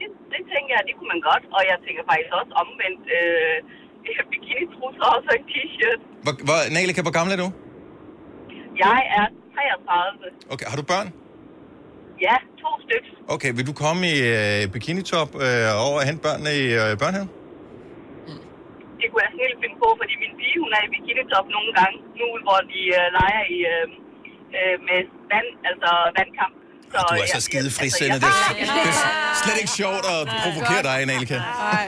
J: det, det tænker jeg, det kunne man godt. Og jeg tænker faktisk også omvendt øh, bikini-trusser og så en t-shirt.
A: Hvor, hvor, Nalika, hvor gammel er du?
J: Jeg er 33.
A: Okay, har du børn?
J: Ja, to stykker.
A: Okay, vil du komme i øh, bikinitop øh, over og hente børnene i øh, børnehaven?
J: Mm. Det kunne jeg snilt finde på, fordi min pige, hun er i bikinitop nogle gange, nu hvor de øh, leger i, øh, øh, med vand, altså vandkamp. Så,
A: Ah, Du er
J: jeg-
A: så skide
J: jeg-
A: frisindet. Det,
J: Altså,
A: er- det er slet ikke sjovt at provokere dig, Nalika.
B: Nej,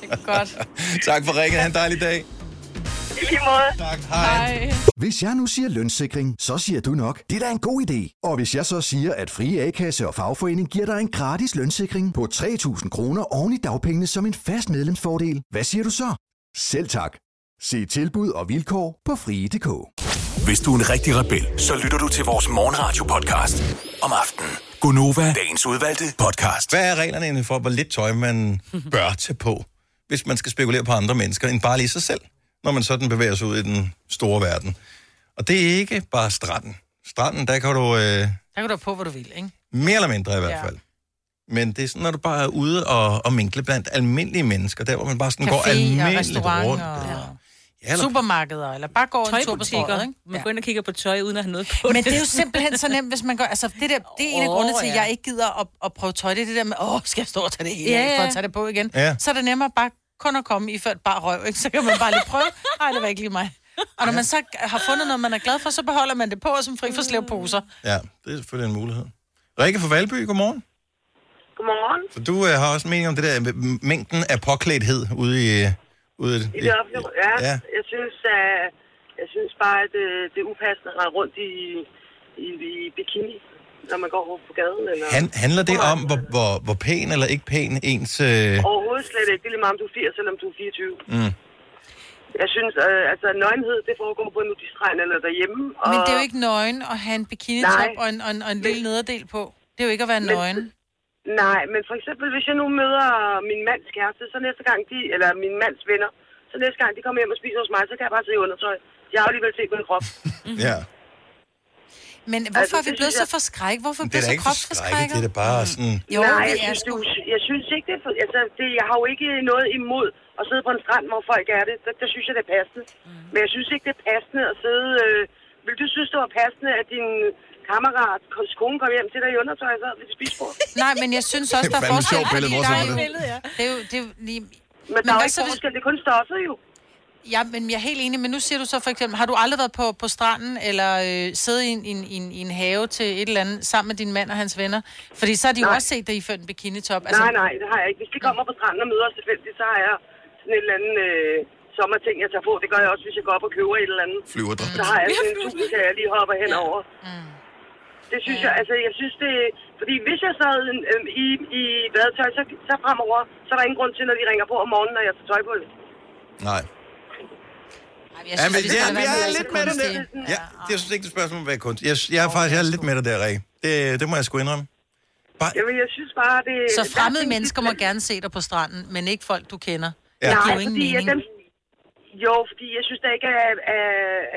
B: det er godt.
A: Tak for ringen. Ha' en dejlig dag.
J: jeg, I lige måde.
A: Tak. Hej.
B: Nej.
K: Hvis jeg nu siger lønssikring, så siger du nok, det er da en god idé. Og hvis jeg så siger, at frie A-kasse og fagforening giver dig en gratis lønssikring på 3.000 kroner oven i dagpengene som en fast medlemsfordel, hvad siger du så? Selv tak. Se tilbud og vilkår på frie.dk.
F: Hvis du er en rigtig rebel, så lytter du til vores morgenradio-podcast om aftenen. Gonova, dagens udvalgte podcast.
A: Hvad er reglerne egentlig for, hvor lidt tøj man bør tage på, hvis man skal spekulere på andre mennesker, end bare lige sig selv, når man sådan bevæger sig ud i den store verden? Og det er ikke bare stranden. Stranden, der kan du øh,
C: Der kan du have på, hvor du vil, ikke?
A: mere eller mindre i hvert
C: Ja.
A: fald. Men det er sådan, når du bare er ude og, og minkle blandt almindelige mennesker, der hvor man bare sådan går
C: Café og
A: almindeligt rundt.
C: restauranter og
A: Ja, eller
C: supermarkeder, eller bare går en tur på
D: Tøjbutikker.
C: strøget,
D: ikke?
C: ikke?
D: Man går ind og kigger på tøj, uden at have noget på
C: Men det er jo simpelthen så nemt, hvis man går... Altså, det, der, det er en af
D: Åh,
C: grundene til, at
D: ja.
C: jeg ikke gider at, at prøve tøj. Det er det der med, åh, skal jeg stå og tage det hele
D: Ja,
C: af, for
D: ja.
C: at tage det på igen?
A: Ja.
C: Så er det nemmere bare kun at komme i ført bare røv, ikke? Så kan man bare lige prøve. Nej, det var ikke lige mig. Og når man så har fundet noget, man er glad for, så beholder man det på, og som fri for slævposer.
A: Ja, det er selvfølgelig en mulighed. Rikke fra Valby, godmorgen.
J: Godmorgen.
A: Så du øh, har også mening om det der med m- mængden af påklædthed ude i... Øh, ude
J: I det offentlige rum, ja.
A: Ja.
J: ja. Jeg synes, øh, at, øh, jeg synes bare, at det, det er upassende at rende rundt i, i, i bikini.
L: når man går på gaden. Eller...
A: Han, handler det om, hvor, hvor, hvor pæn eller ikke pæn ens... Øh...
L: Overhovedet slet ikke. Det er lige meget, om du er 80, selvom du er 24.
A: Mm.
L: Jeg synes, øh, altså nøgenhed, det foregår på en nudistregn eller derhjemme. Og...
C: Men det er jo ikke nøgen at have en bikinitop
L: Nej.
C: og en, og, en, og en lille nederdel på. Det er jo ikke at være
L: Men-
C: nøgen.
L: Nej, men for eksempel, hvis jeg nu møder min mands kæreste, så næste gang de, eller min mands venner, så næste gang de kommer hjem og spiser hos mig, så kan jeg bare sidde i undertøj. Jeg har jo alligevel set min krop.
A: Ja.
C: Men hvorfor
L: Altså,
C: altså, er vi
L: det
C: blevet
L: synes
C: så
L: jeg-
C: forskrækket? Hvorfor er vi
A: Det er da
C: blevet så
A: ikke forskrækket, det
C: kropsforskrækket?
A: er da bare sådan...
C: Jo,
L: Nej,
C: det
L: jeg
C: er
L: synes, du, jeg synes ikke, det er for, altså, det, jeg har jo ikke noget imod at sidde på en strand, hvor folk er det. Der, der synes jeg, det er passende. Mm. Men jeg synes ikke, det er passende at sidde... Øh, vil du synes, det var passende, at din kammerat, kons- kone, kom hjem til dig i undertøj, så ved det spisebord?
C: Nej, men jeg synes også,
L: Det er
C: der er
L: fandme
C: forskel.
L: sjovt billede,
C: fordi
L: hvor så
C: der
L: er det?
C: et billede, ja. Det er jo, det er jo lige...
L: Men, der er jo
C: hvad
L: ikke
C: så, hvis-
L: forskel, det er kun stoffet jo.
C: Ja, men jeg er helt enig, men nu siger du så for eksempel, har du aldrig været på, på stranden eller øh, siddet i en, i, en, i, en, i en have til et eller andet sammen med din mand og hans venner? Fordi så har de jo
L: Nej.
C: også set dig i før en bikinitop.
L: Altså... Nej, nej, det har jeg ikke. Hvis de kommer på stranden og møder os tilfældigt, så har jeg sådan et eller andet øh, sommerting, jeg tager på. Det gør jeg også, hvis jeg går op og køber et eller andet.
A: Flyverdragt.
L: Så har jeg sådan en tusind, kan jeg lige hopper henover. Mm. Det synes jeg, altså jeg synes det... Fordi hvis jeg sad øh, i, i badetøj, så, så fremover, så er der ingen grund til, når de ringer på om morgenen, når jeg tager tøj på.
A: Nej.
C: Jeg
A: Ja, men
C: vi skal
A: ja,
C: lade være
A: jeg
C: med
A: er
C: at
A: lidt med
C: være
A: dig
C: så
A: der. Ja, det er synes ikke det er et spørgsmål om at være kunst. Jeg, jeg er faktisk jeg er lidt med dig der, Ræ. Det, det må jeg sgu indrømme.
L: Jamen, jeg synes bare, det...
C: Så fremmede mennesker må gerne se dig på stranden, men ikke folk, du kender.
A: Ja.
L: Nej,
C: Det giver jo ingen
L: fordi jeg,
C: mening.
L: dem, jo, fordi jeg synes da ikke, at, at,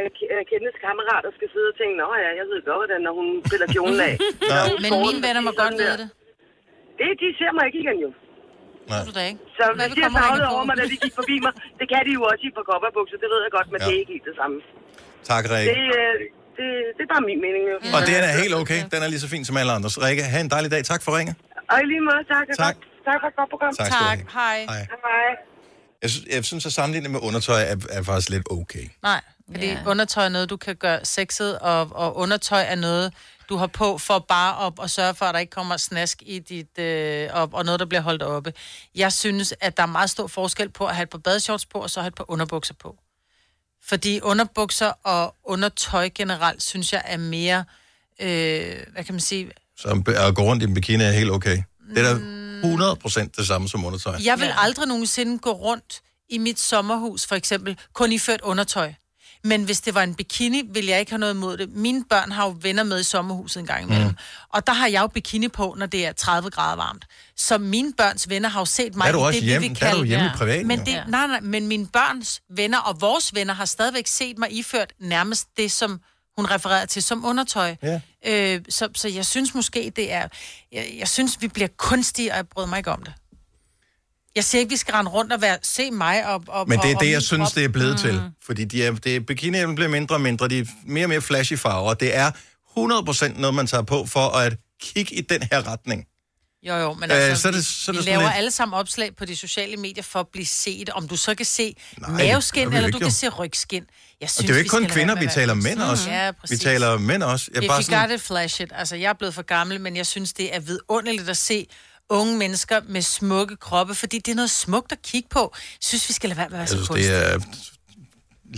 L: at, at Kenneths kammerater skal sidde og tænke, nå ja, jeg ved godt, hvordan når hun piller kjolen af.
C: Nå.
L: Når hun
C: Men
L: skår
C: mine
L: den,
C: venner må
L: fordi
C: godt
L: sådan
C: vide
L: der. Det, de ser mig ikke igen, jo.
A: Nej.
C: Du da ikke?
L: Så
C: Hvad
L: Hvad
C: vil
L: de har
C: komme og ringe
L: savlet
C: på?
L: over mig, da de gik forbi mig. Det kan de jo også i et par kopperbukser, det ved jeg godt, men
A: Ja.
L: ja. det er ikke helt det samme.
A: Tak, Ræ.
L: Det, øh, det, det er bare min mening, jo.
A: Og den er helt okay. Den er lige så fin som alle andres. Rikke, have en dejlig dag. Tak for ringet.
L: Og i lige måde, tak.
A: Tak.
L: Tak, tak for et godt program.
A: Tak skal du Tak. have.
C: Hej.
A: Hej.
L: Hej.
A: Jeg, synes, jeg synes, at sammenlignet med undertøj er, er faktisk lidt okay.
C: Nej, fordi yeah. undertøj er noget, du kan gøre sexet, og, og undertøj er noget, du har på for bare at, at sørge for, at der ikke kommer snask i dit, øh, op, og noget, der bliver holdt oppe. Jeg synes, at der er meget stor forskel på at have et par badeshorts på, og så have et par underbukser på. Fordi underbukser og undertøj generelt, synes jeg, er mere, øh, hvad kan man sige,
A: Så at gå rundt i en bikini er helt okay. Det er da 100% det samme som undertøj.
C: Jeg vil aldrig nogensinde gå rundt i mit sommerhus, for eksempel, kun i ført undertøj. Men hvis det var en bikini, ville jeg ikke have noget imod det. Mine børn har jo venner med i sommerhuset en gang imellem. Mm. Og der har jeg jo bikini på, når det er 30 grader varmt. Så mine børns venner har jo set mig
A: Der er du
C: i
A: også
C: det,
A: hjemme-
C: vi vil
A: der er
C: kalde...
A: du hjemme i privaten,
C: men
A: jo.
C: det,
A: Ja.
C: nej, nej, men mine børns venner og vores venner har stadigvæk set mig iført nærmest det, som hun refererede til som undertøj.
A: Ja.
C: Øh, så, så jeg synes måske, det er... Jeg, jeg synes, vi bliver kunstige, og jeg bryder mig ikke om det. Jeg siger ikke, vi skal rende rundt og være, se mig og... og
A: Men det er
C: og,
A: det,
C: og
A: jeg
C: min
A: synes,
C: krop.
A: det er blevet mm. til.
C: Mm.
A: Fordi de er, det er, bikinien bliver mindre og mindre, de er mere og mere flashy farver. Det er 100% noget, man tager på for at kigge i den her retning.
C: Jo, jo, men
A: Øh,
C: altså,
A: så er det-
C: vi-
A: så er det
C: vi
A: sådan
C: laver
A: lidt-
C: alle sammen opslag på de sociale medier for at blive set. Om du så kan se
A: Nej,
C: Nej,
A: det gør
C: maveskin,
A: vi
C: eller
A: ikke,
C: du kan
A: jo.
C: se rygskin. Jeg
A: Og det er jo ikke
C: skal
A: kun
C: lade være
A: kvinder,
C: med
A: vi
C: at
A: taler
C: være-
A: mænd også.
C: Ja,
A: vi
C: præcis.
A: taler mænd også.
C: Jeg
A: Jeg
C: If
A: bare
C: you
A: sådan,
C: got it, flash it. Altså, jeg er blevet for gammel, men jeg synes, det er vidunderligt at se unge mennesker med smukke kroppe, fordi det er noget smukt at kigge på. Jeg synes, vi skal lade være med at være
A: jeg
C: så
A: synes,
C: kunstige.
A: det er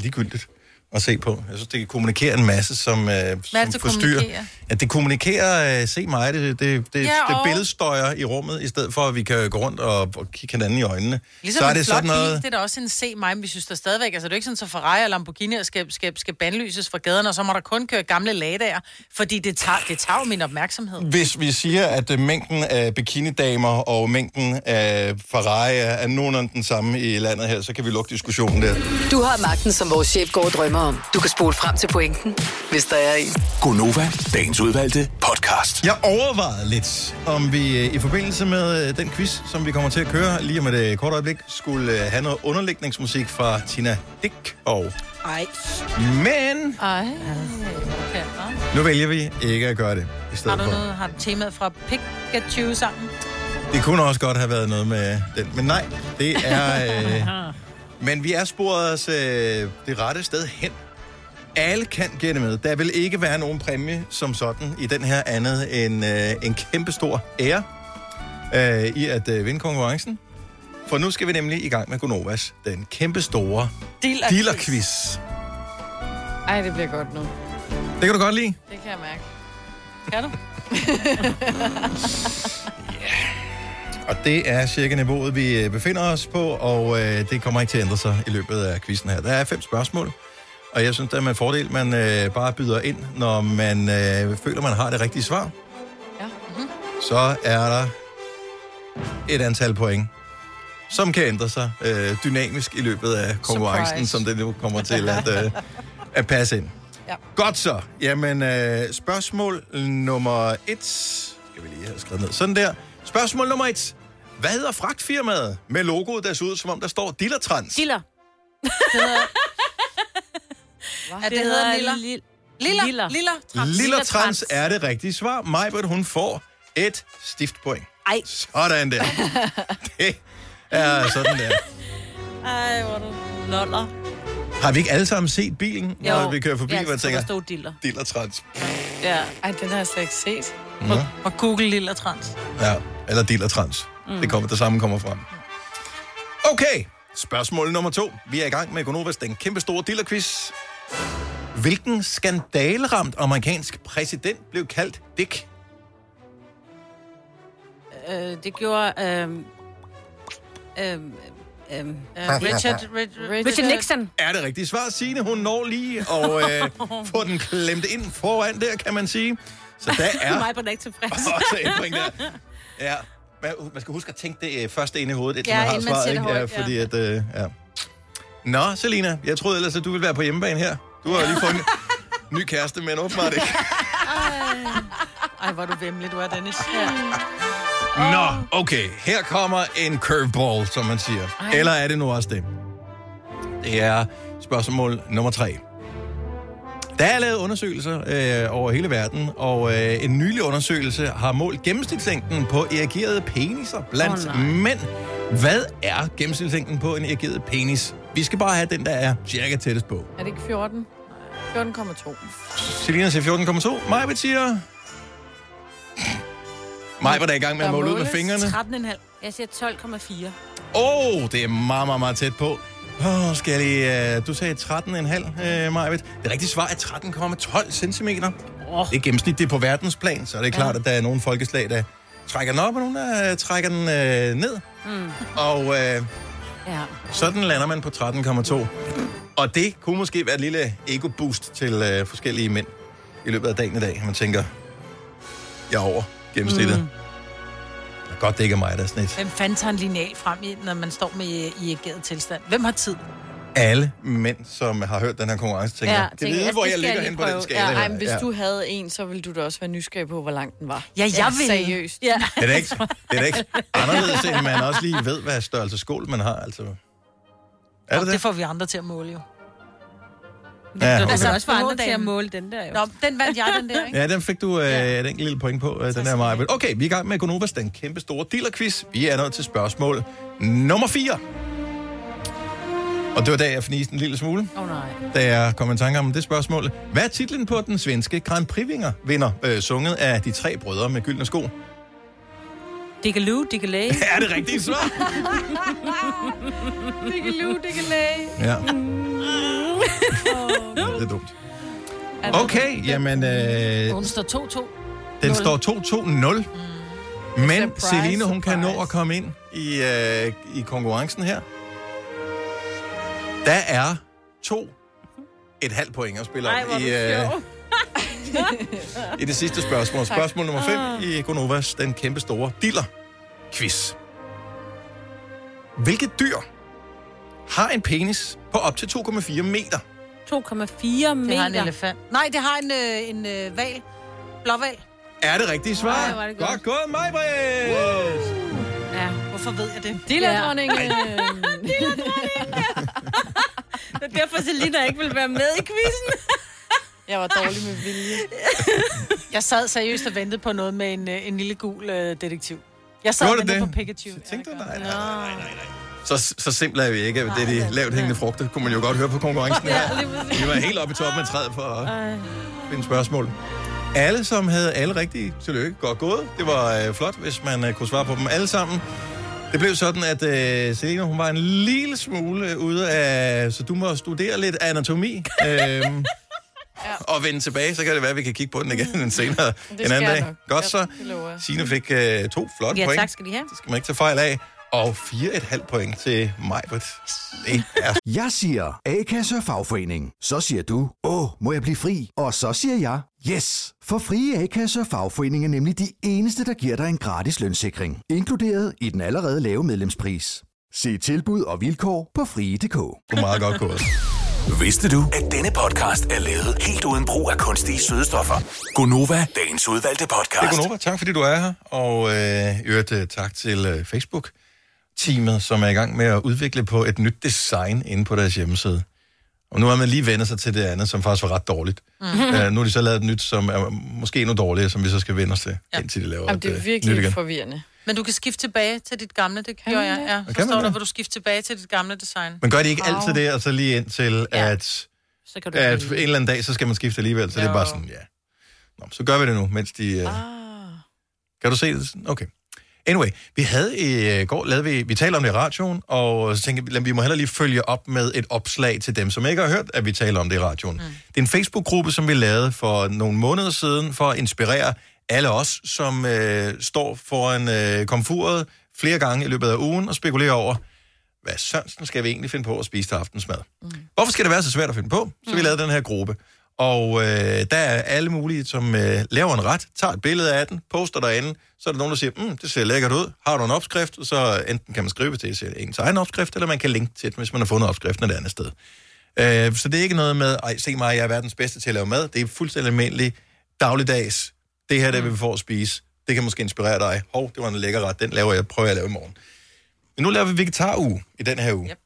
A: ligegyldigt at se på. Jeg synes, det kommunikerer en masse, som, øh,
C: Hvad er
A: som
C: det, det
A: forstyrrer.
C: kommunikerer?
A: At det kommunikerer, øh, se mig, det, det, det,
C: Ja,
A: det
C: og-
A: billedstøjer i rummet, i stedet for, at vi kan gå rundt og, og kigge hinanden i øjnene.
C: Ligesom så er en det flot sådan noget... bil, det er da også en se mig, men vi synes der stadigvæk, altså det er jo ikke sådan, så Ferrari og Lamborghini skal, skal, skal bandlyses fra gaderne, og så må der kun køre gamle ladager, fordi det tager, det tager jo min opmærksomhed.
A: Hvis vi siger, at øh, mængden af bikinidamer og mængden af Ferrari er- er nogenlunde den samme i landet her, så kan vi lukke diskussionen der.
E: Du har magten, som vores chef går og drømmer om. Du kan spole frem til pointen, hvis der er en.
F: Gonova, dagens udvalgte podcast.
A: Jeg overvejede lidt, om vi øh, i forbindelse med øh, den quiz, som vi kommer til at køre lige om et øh, kort øjeblik, skulle øh, have noget underlægningsmusik fra Tina Dick. Og...
C: Ej.
A: Men...
C: Ej. Okay, nå.
A: Nu vælger vi ikke at gøre det i
C: har
A: stedet
C: du
A: for.
C: noget, har du temaet fra Pikachu-sangen?
A: Det kunne også godt have været noget med den, men nej, det er... Øh, men vi er sporet os øh, det rette sted hen. Alle kan gætte med. Der vil ikke være nogen præmie som sådan i den her andet end øh, en kæmpe stor ære øh, i at øh, vinde konkurrencen. For nu skal vi nemlig i gang med Gonovas, den kæmpe store
B: Dealerquiz.
A: dealerquiz.
B: Ej, det bliver godt nu.
A: Det kan du godt lide.
B: Det kan jeg mærke.
C: Kan du?
A: Og det er cirka niveauet, vi øh, befinder os på, og øh, det kommer ikke til at ændre sig i løbet af quizzen her. Der er fem spørgsmål, og jeg synes, det er med fordel, man øh, bare byder ind, når man øh, føler, man har det rigtige svar. Ja. Mm-hmm. Så er der et antal point, som kan ændre sig øh, dynamisk i løbet af konkurrencen,
M: Surprise.
A: som det nu kommer til at, øh, at passe ind.
C: Ja.
A: Godt så. Jamen, øh, spørgsmål nummer et. Skal vi lige have skrevet ned. Sådan der. Spørgsmål nummer et. Hvad hedder fragtfirmaet med logoet, der ser ud, som om der står Dillertrans?
D: Diller.
C: Ja, det,
D: Det
C: hedder
D: hedder
C: Lilla.
D: Lilla.
C: Lilla. Lilla. Trans.
A: Dillertrans er det rigtige svar. Majbert, hun får et stift point.
D: Ej.
A: Sådan der. Det er sådan der.
D: Ej, hvor er du loller.
A: Har vi ikke alle sammen set bilen, når
D: Jo.
A: vi kører forbi?
D: Ja,
A: hvor jeg
D: så
A: tænker,
D: der stod Diller.
A: Dillertrans.
C: Ja. Ej, den har jeg slet ikke set.
A: Nå.
C: Og Google Lilla Trans.
A: Ja, eller Dillertrans.
C: Mm.
A: Mm. Det, kommer, det samme kommer frem. Okay, spørgsmål nummer to. Vi er i gang med Gonovas den kæmpe store dillerquiz. Hvilken skandaleramt amerikansk præsident blev kaldt Dick?
D: Øh, det gjorde... Øh, øh, øh, øh, Richard, Richard, Richard Nixon.
A: Er det rigtige svar, Signe? Hun når lige og øh, få den klemt ind foran der, kan man sige. Så der er
D: Mig på den ikke tilfreds.
A: også en point der. Ja, man, man skal huske at tænke det øh, først ind i hovedet, indtil
D: Ja,
A: man har
D: inden man
A: svaret.
D: siger det
A: ikke? Ja, fordi
D: højt,
A: at, øh, ja. Nå, Selina, jeg troede ellers, at du ville være på hjemmebane her. Du har jo lige fået en ny kæreste, men åbenbart ikke.
C: Ej. Ej, hvor er du vemmelig, du er, Dennis. Ja.
A: Nå, okay. Her kommer en curveball, som man siger.
C: Ej.
A: Eller er det nu også det? Det er spørgsmål nummer tre. Der er lavet undersøgelser øh, over hele verden, og øh, en nylig undersøgelse har målt gennemsnitslængden på erigerede peniser blandt
F: Åh,
A: oh, mænd. Hvad er gennemsnitslængden på en erigeret penis? Vi skal bare have den, der er cirka tættest på.
B: Er det ikke 14? 14,2.
A: Selina siger 14,2. Maja siger... Maja var da i gang med at måle ud med fingrene.
D: 13,5. Jeg siger 12,4.
A: Åh, oh, det er meget, meget, meget tæt på. Åh, oh, skal jeg lige... Uh, du sagde 13,5, uh, Majved. Det rigtige svar er 13,12 cm. Oh. Det er gennemsnit, det er på verdensplan, så er det klart, ja. at der er nogle folkeslag, der trækker den op, og nogle, der uh, trækker den uh, ned.
D: Mm.
A: Og uh,
D: Ja.
A: sådan lander man på 13,2. Og det kunne måske være et lille ego-boost til uh, forskellige mænd i løbet af dagen i dag. Man tænker, jeg er over gennemsnittet. Mm. Godt, det ikke er mig, der er sådan et
C: Hvem fandt tager en lineal frem i, når man står med i, i ageret tilstand? Hvem har tid?
A: alle mænd, som har hørt den her konkurrence, tænker, ja, tænker jeg ved, hvor jeg ligger hen på den skala.
B: Ja,
A: her."
B: ej, men hvis
A: ja.
B: du havde en, så ville du da også være nysgerrig på, hvor lang den var.
C: Ja, jeg ville.
B: Seriøst. Ja.
A: Det er da ikke, det er da ikke anderledes, end man også lige ved, hvad størrelse skål man har. Altså. Er
C: Nå,
A: det
C: det
A: det?
C: får vi andre til at måle jo.
A: Ja, okay.
D: Altså også for andre til at
C: Måledagen.
D: måle den der, jo.
C: Nå, den vandt jeg, den der, ikke?
A: Ja, den fik du øh, ja. den lille point på, øh, den her Maja. Okay, vi er i gang med Gonovas den kæmpe store dealerquiz. Vi er nået til spørgsmål nummer 4. Og det var da, jeg fniste en lille smule,
C: Åh oh, nej.
A: da jeg kom i tanke om det spørgsmål. Hvad er titlen på den svenske Grand Prix-vinder, vinder, øh, sunget af de tre brødre med gyldne sko?
D: Diggaloo, diggalæge.
A: Er det rigtige svar?
B: Diggaloo, diggalæge.
A: Ja. Ja, det er dumt. Okay, jamen, øh,
C: Hun står 2-2.
A: den
C: Nul. Mm.
A: står 2-2-0. Men
C: Surprise,
A: Celine, hun kan nå at komme ind i, øh, i konkurrencen her. Der er to et halvt point at spille om i, øh, i det sidste spørgsmål.
F: Tak.
A: Spørgsmål nummer 5
F: Ah.
A: i Gonovas, den kæmpe store diller-quiz. Hvilket dyr har en penis på op til 2,4 meter?
D: 2,4 meter.
C: Det har en elefant. Nej, det har en, øh, en øh, val. Blåval.
A: Er det rigtige svar?
C: Ej, hvor er det godt.
A: godt gået, Majbrit!
C: Ja. Hvorfor ved jeg det?
D: Dillardronningen. Det er derfor, Selina ikke vil være med i quizzen.
B: Jeg var dårlig med vilje.
C: Jeg sad seriøst og ventede på noget med en, øh, en lille gul øh, detektiv. Jeg sad og
A: Gjorde du
C: ventede
A: det?
C: på Pikachu. Så tænkte
A: du, nej,
C: nej, nej, nej,
A: Så, så simpelt er vi ikke. Det er de lavt hængende frugter, kunne man jo godt høre på konkurrencen her. Vi var helt oppe i toppen af træet for at finde spørgsmål. Alle, som havde alle rigtige, tillykke, godt gået. Det var øh, flot, hvis man øh, kunne svare på dem alle sammen. Det blev sådan, at øh, Selena, hun var en lille smule øh, ude af... Så du må studere lidt anatomi. øhm, og vende tilbage, så kan det være, at vi kan kigge på den igen en senere
D: Det
A: en
D: skal
A: anden
D: jeg
A: dag.
D: nok.
A: Godt så.
D: Det lover jeg.
A: Signe fik øh, to flotte
D: ja,
A: point.
D: tak skal de have.
A: Det skal man ikke tage fejl af. Og 4,5 point til Majbert. Det er
K: Jeg siger A-kasse og fagforening. Så siger du, åh, må jeg blive fri? Og så siger jeg, yes! For frie A-kasse og fagforening er nemlig de eneste, der giver dig en gratis lønssikring. Inkluderet i den allerede lave medlemspris. Se tilbud og vilkår på frie.dk.
A: meget godt gået.
F: Vidste du, at denne podcast er lavet helt uden brug af kunstige sødestoffer? Gonova, dagens udvalgte podcast.
A: Det er Gunova. Tak fordi du er her. Og øh, i øvrigt øh, tak til øh, Facebook-teamet, som er i gang med at udvikle på et nyt design inde på deres hjemmeside. Og nu har man lige vendt sig til det andet, som faktisk var ret dårligt. Mm.
B: Mhm.
A: Øh, nu har de så lavet et nyt, som er måske endnu dårligere, som vi så skal vende os til, ja. indtil de laver
B: Jamen, det
A: et,
B: er
A: øh, nyt
B: virkelig
A: igen.
B: forvirrende.
C: Men du kan skifte tilbage til dit gamle, det kan gjorde jeg. Ja.
A: man
C: Forstår du,
A: det?
C: hvor du skifter tilbage til dit gamle design?
A: Men gør de ikke altid det, og så lige indtil, ja. at,
C: Så kan du
A: at en eller anden dag, så skal man skifte alligevel. Så jo. det er bare sådan, ja. Nå, så gør vi det nu, mens de... Øh... Ah. Kan du se det? Okay. Anyway, vi havde i øh, går, lavede vi, vi talte om det i radioen, og så tænkte vi, lad- vi må heller lige følge op med et opslag til dem, som ikke har hørt, at vi taler om det i radioen. Mm. Det er en Facebook-gruppe, som vi lavede for nogle måneder siden, for at inspirere alle os, som øh, står foran øh, komfuret flere gange i løbet af ugen og spekulerer over, hvad sørensen skal vi egentlig finde på at spise til aftensmad? Mm. Hvorfor skal det være så svært at finde på? Så vi lavede den her gruppe. Og øh, der er alle mulige, som øh, laver en ret, tager et billede af den, poster derinde, så er der nogen, der siger, mm, det ser lækkert ud, har du en opskrift? Så enten kan man skrive til ens egen opskrift, eller man kan linke til den, hvis man har fundet opskriften et andet sted. Øh, så det er ikke noget med, ej, se mig, jeg er verdens bedste til at lave mad. Det er fuldstændig almindelig dagligdags. Det her, det vil vi får at spise. Det kan måske inspirere dig. Hov, det var en lækker ret, den laver jeg, prøver jeg at lave i morgen. Men nu laver vi vegetaruge i den her uge. Yep.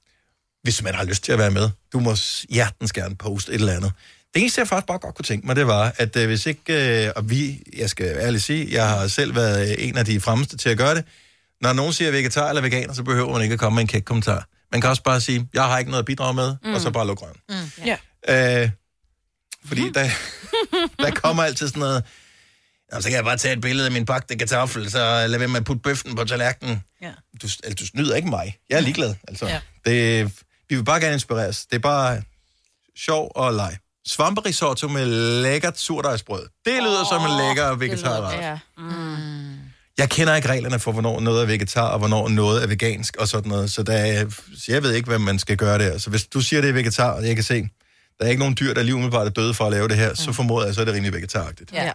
A: Hvis man har lyst til at være med, du må s- hjertens gerne poste et eller andet. Det eneste, jeg faktisk bare godt kunne tænke mig, det var, at øh, hvis ikke, øh, og vi, jeg skal ærligt sige, jeg har selv været øh, en af de fremmeste til at gøre det, når nogen siger vegetar eller veganer, så behøver man ikke at komme med en kæk kommentar. Man kan også bare sige, jeg har ikke noget at bidrage med, mm. og så bare lukke røven.
B: Mm. Ja.
A: Øh, fordi der, der kommer altid sådan noget, "Nå, så kan jeg bare tage et billede af min bagte kartoffel, så lad være med at putte bøften på tallerkenen.
C: Ja.
A: Du, altså, du snyder ikke mig. Jeg er ligeglad. Altså.
C: Ja.
A: Ja. Det, vi vil bare gerne inspireres. Det er bare sjov og leg. Svamperisotto med lækkert surdejsbrød. Det lyder oh, som en lækker vegetarret.
B: Ja. Mm.
A: Jeg kender ikke reglerne for, hvornår noget er vegetar, og hvornår noget er vegansk og sådan noget. Så, der er, så jeg ved ikke, hvad man skal gøre der. Så hvis du siger, det er vegetar, og jeg kan se, der er ikke nogen dyr, der lige umiddelbart er døde for at lave det her, så formoder jeg, så er det rimelig vegetaragtigt.
D: Ja.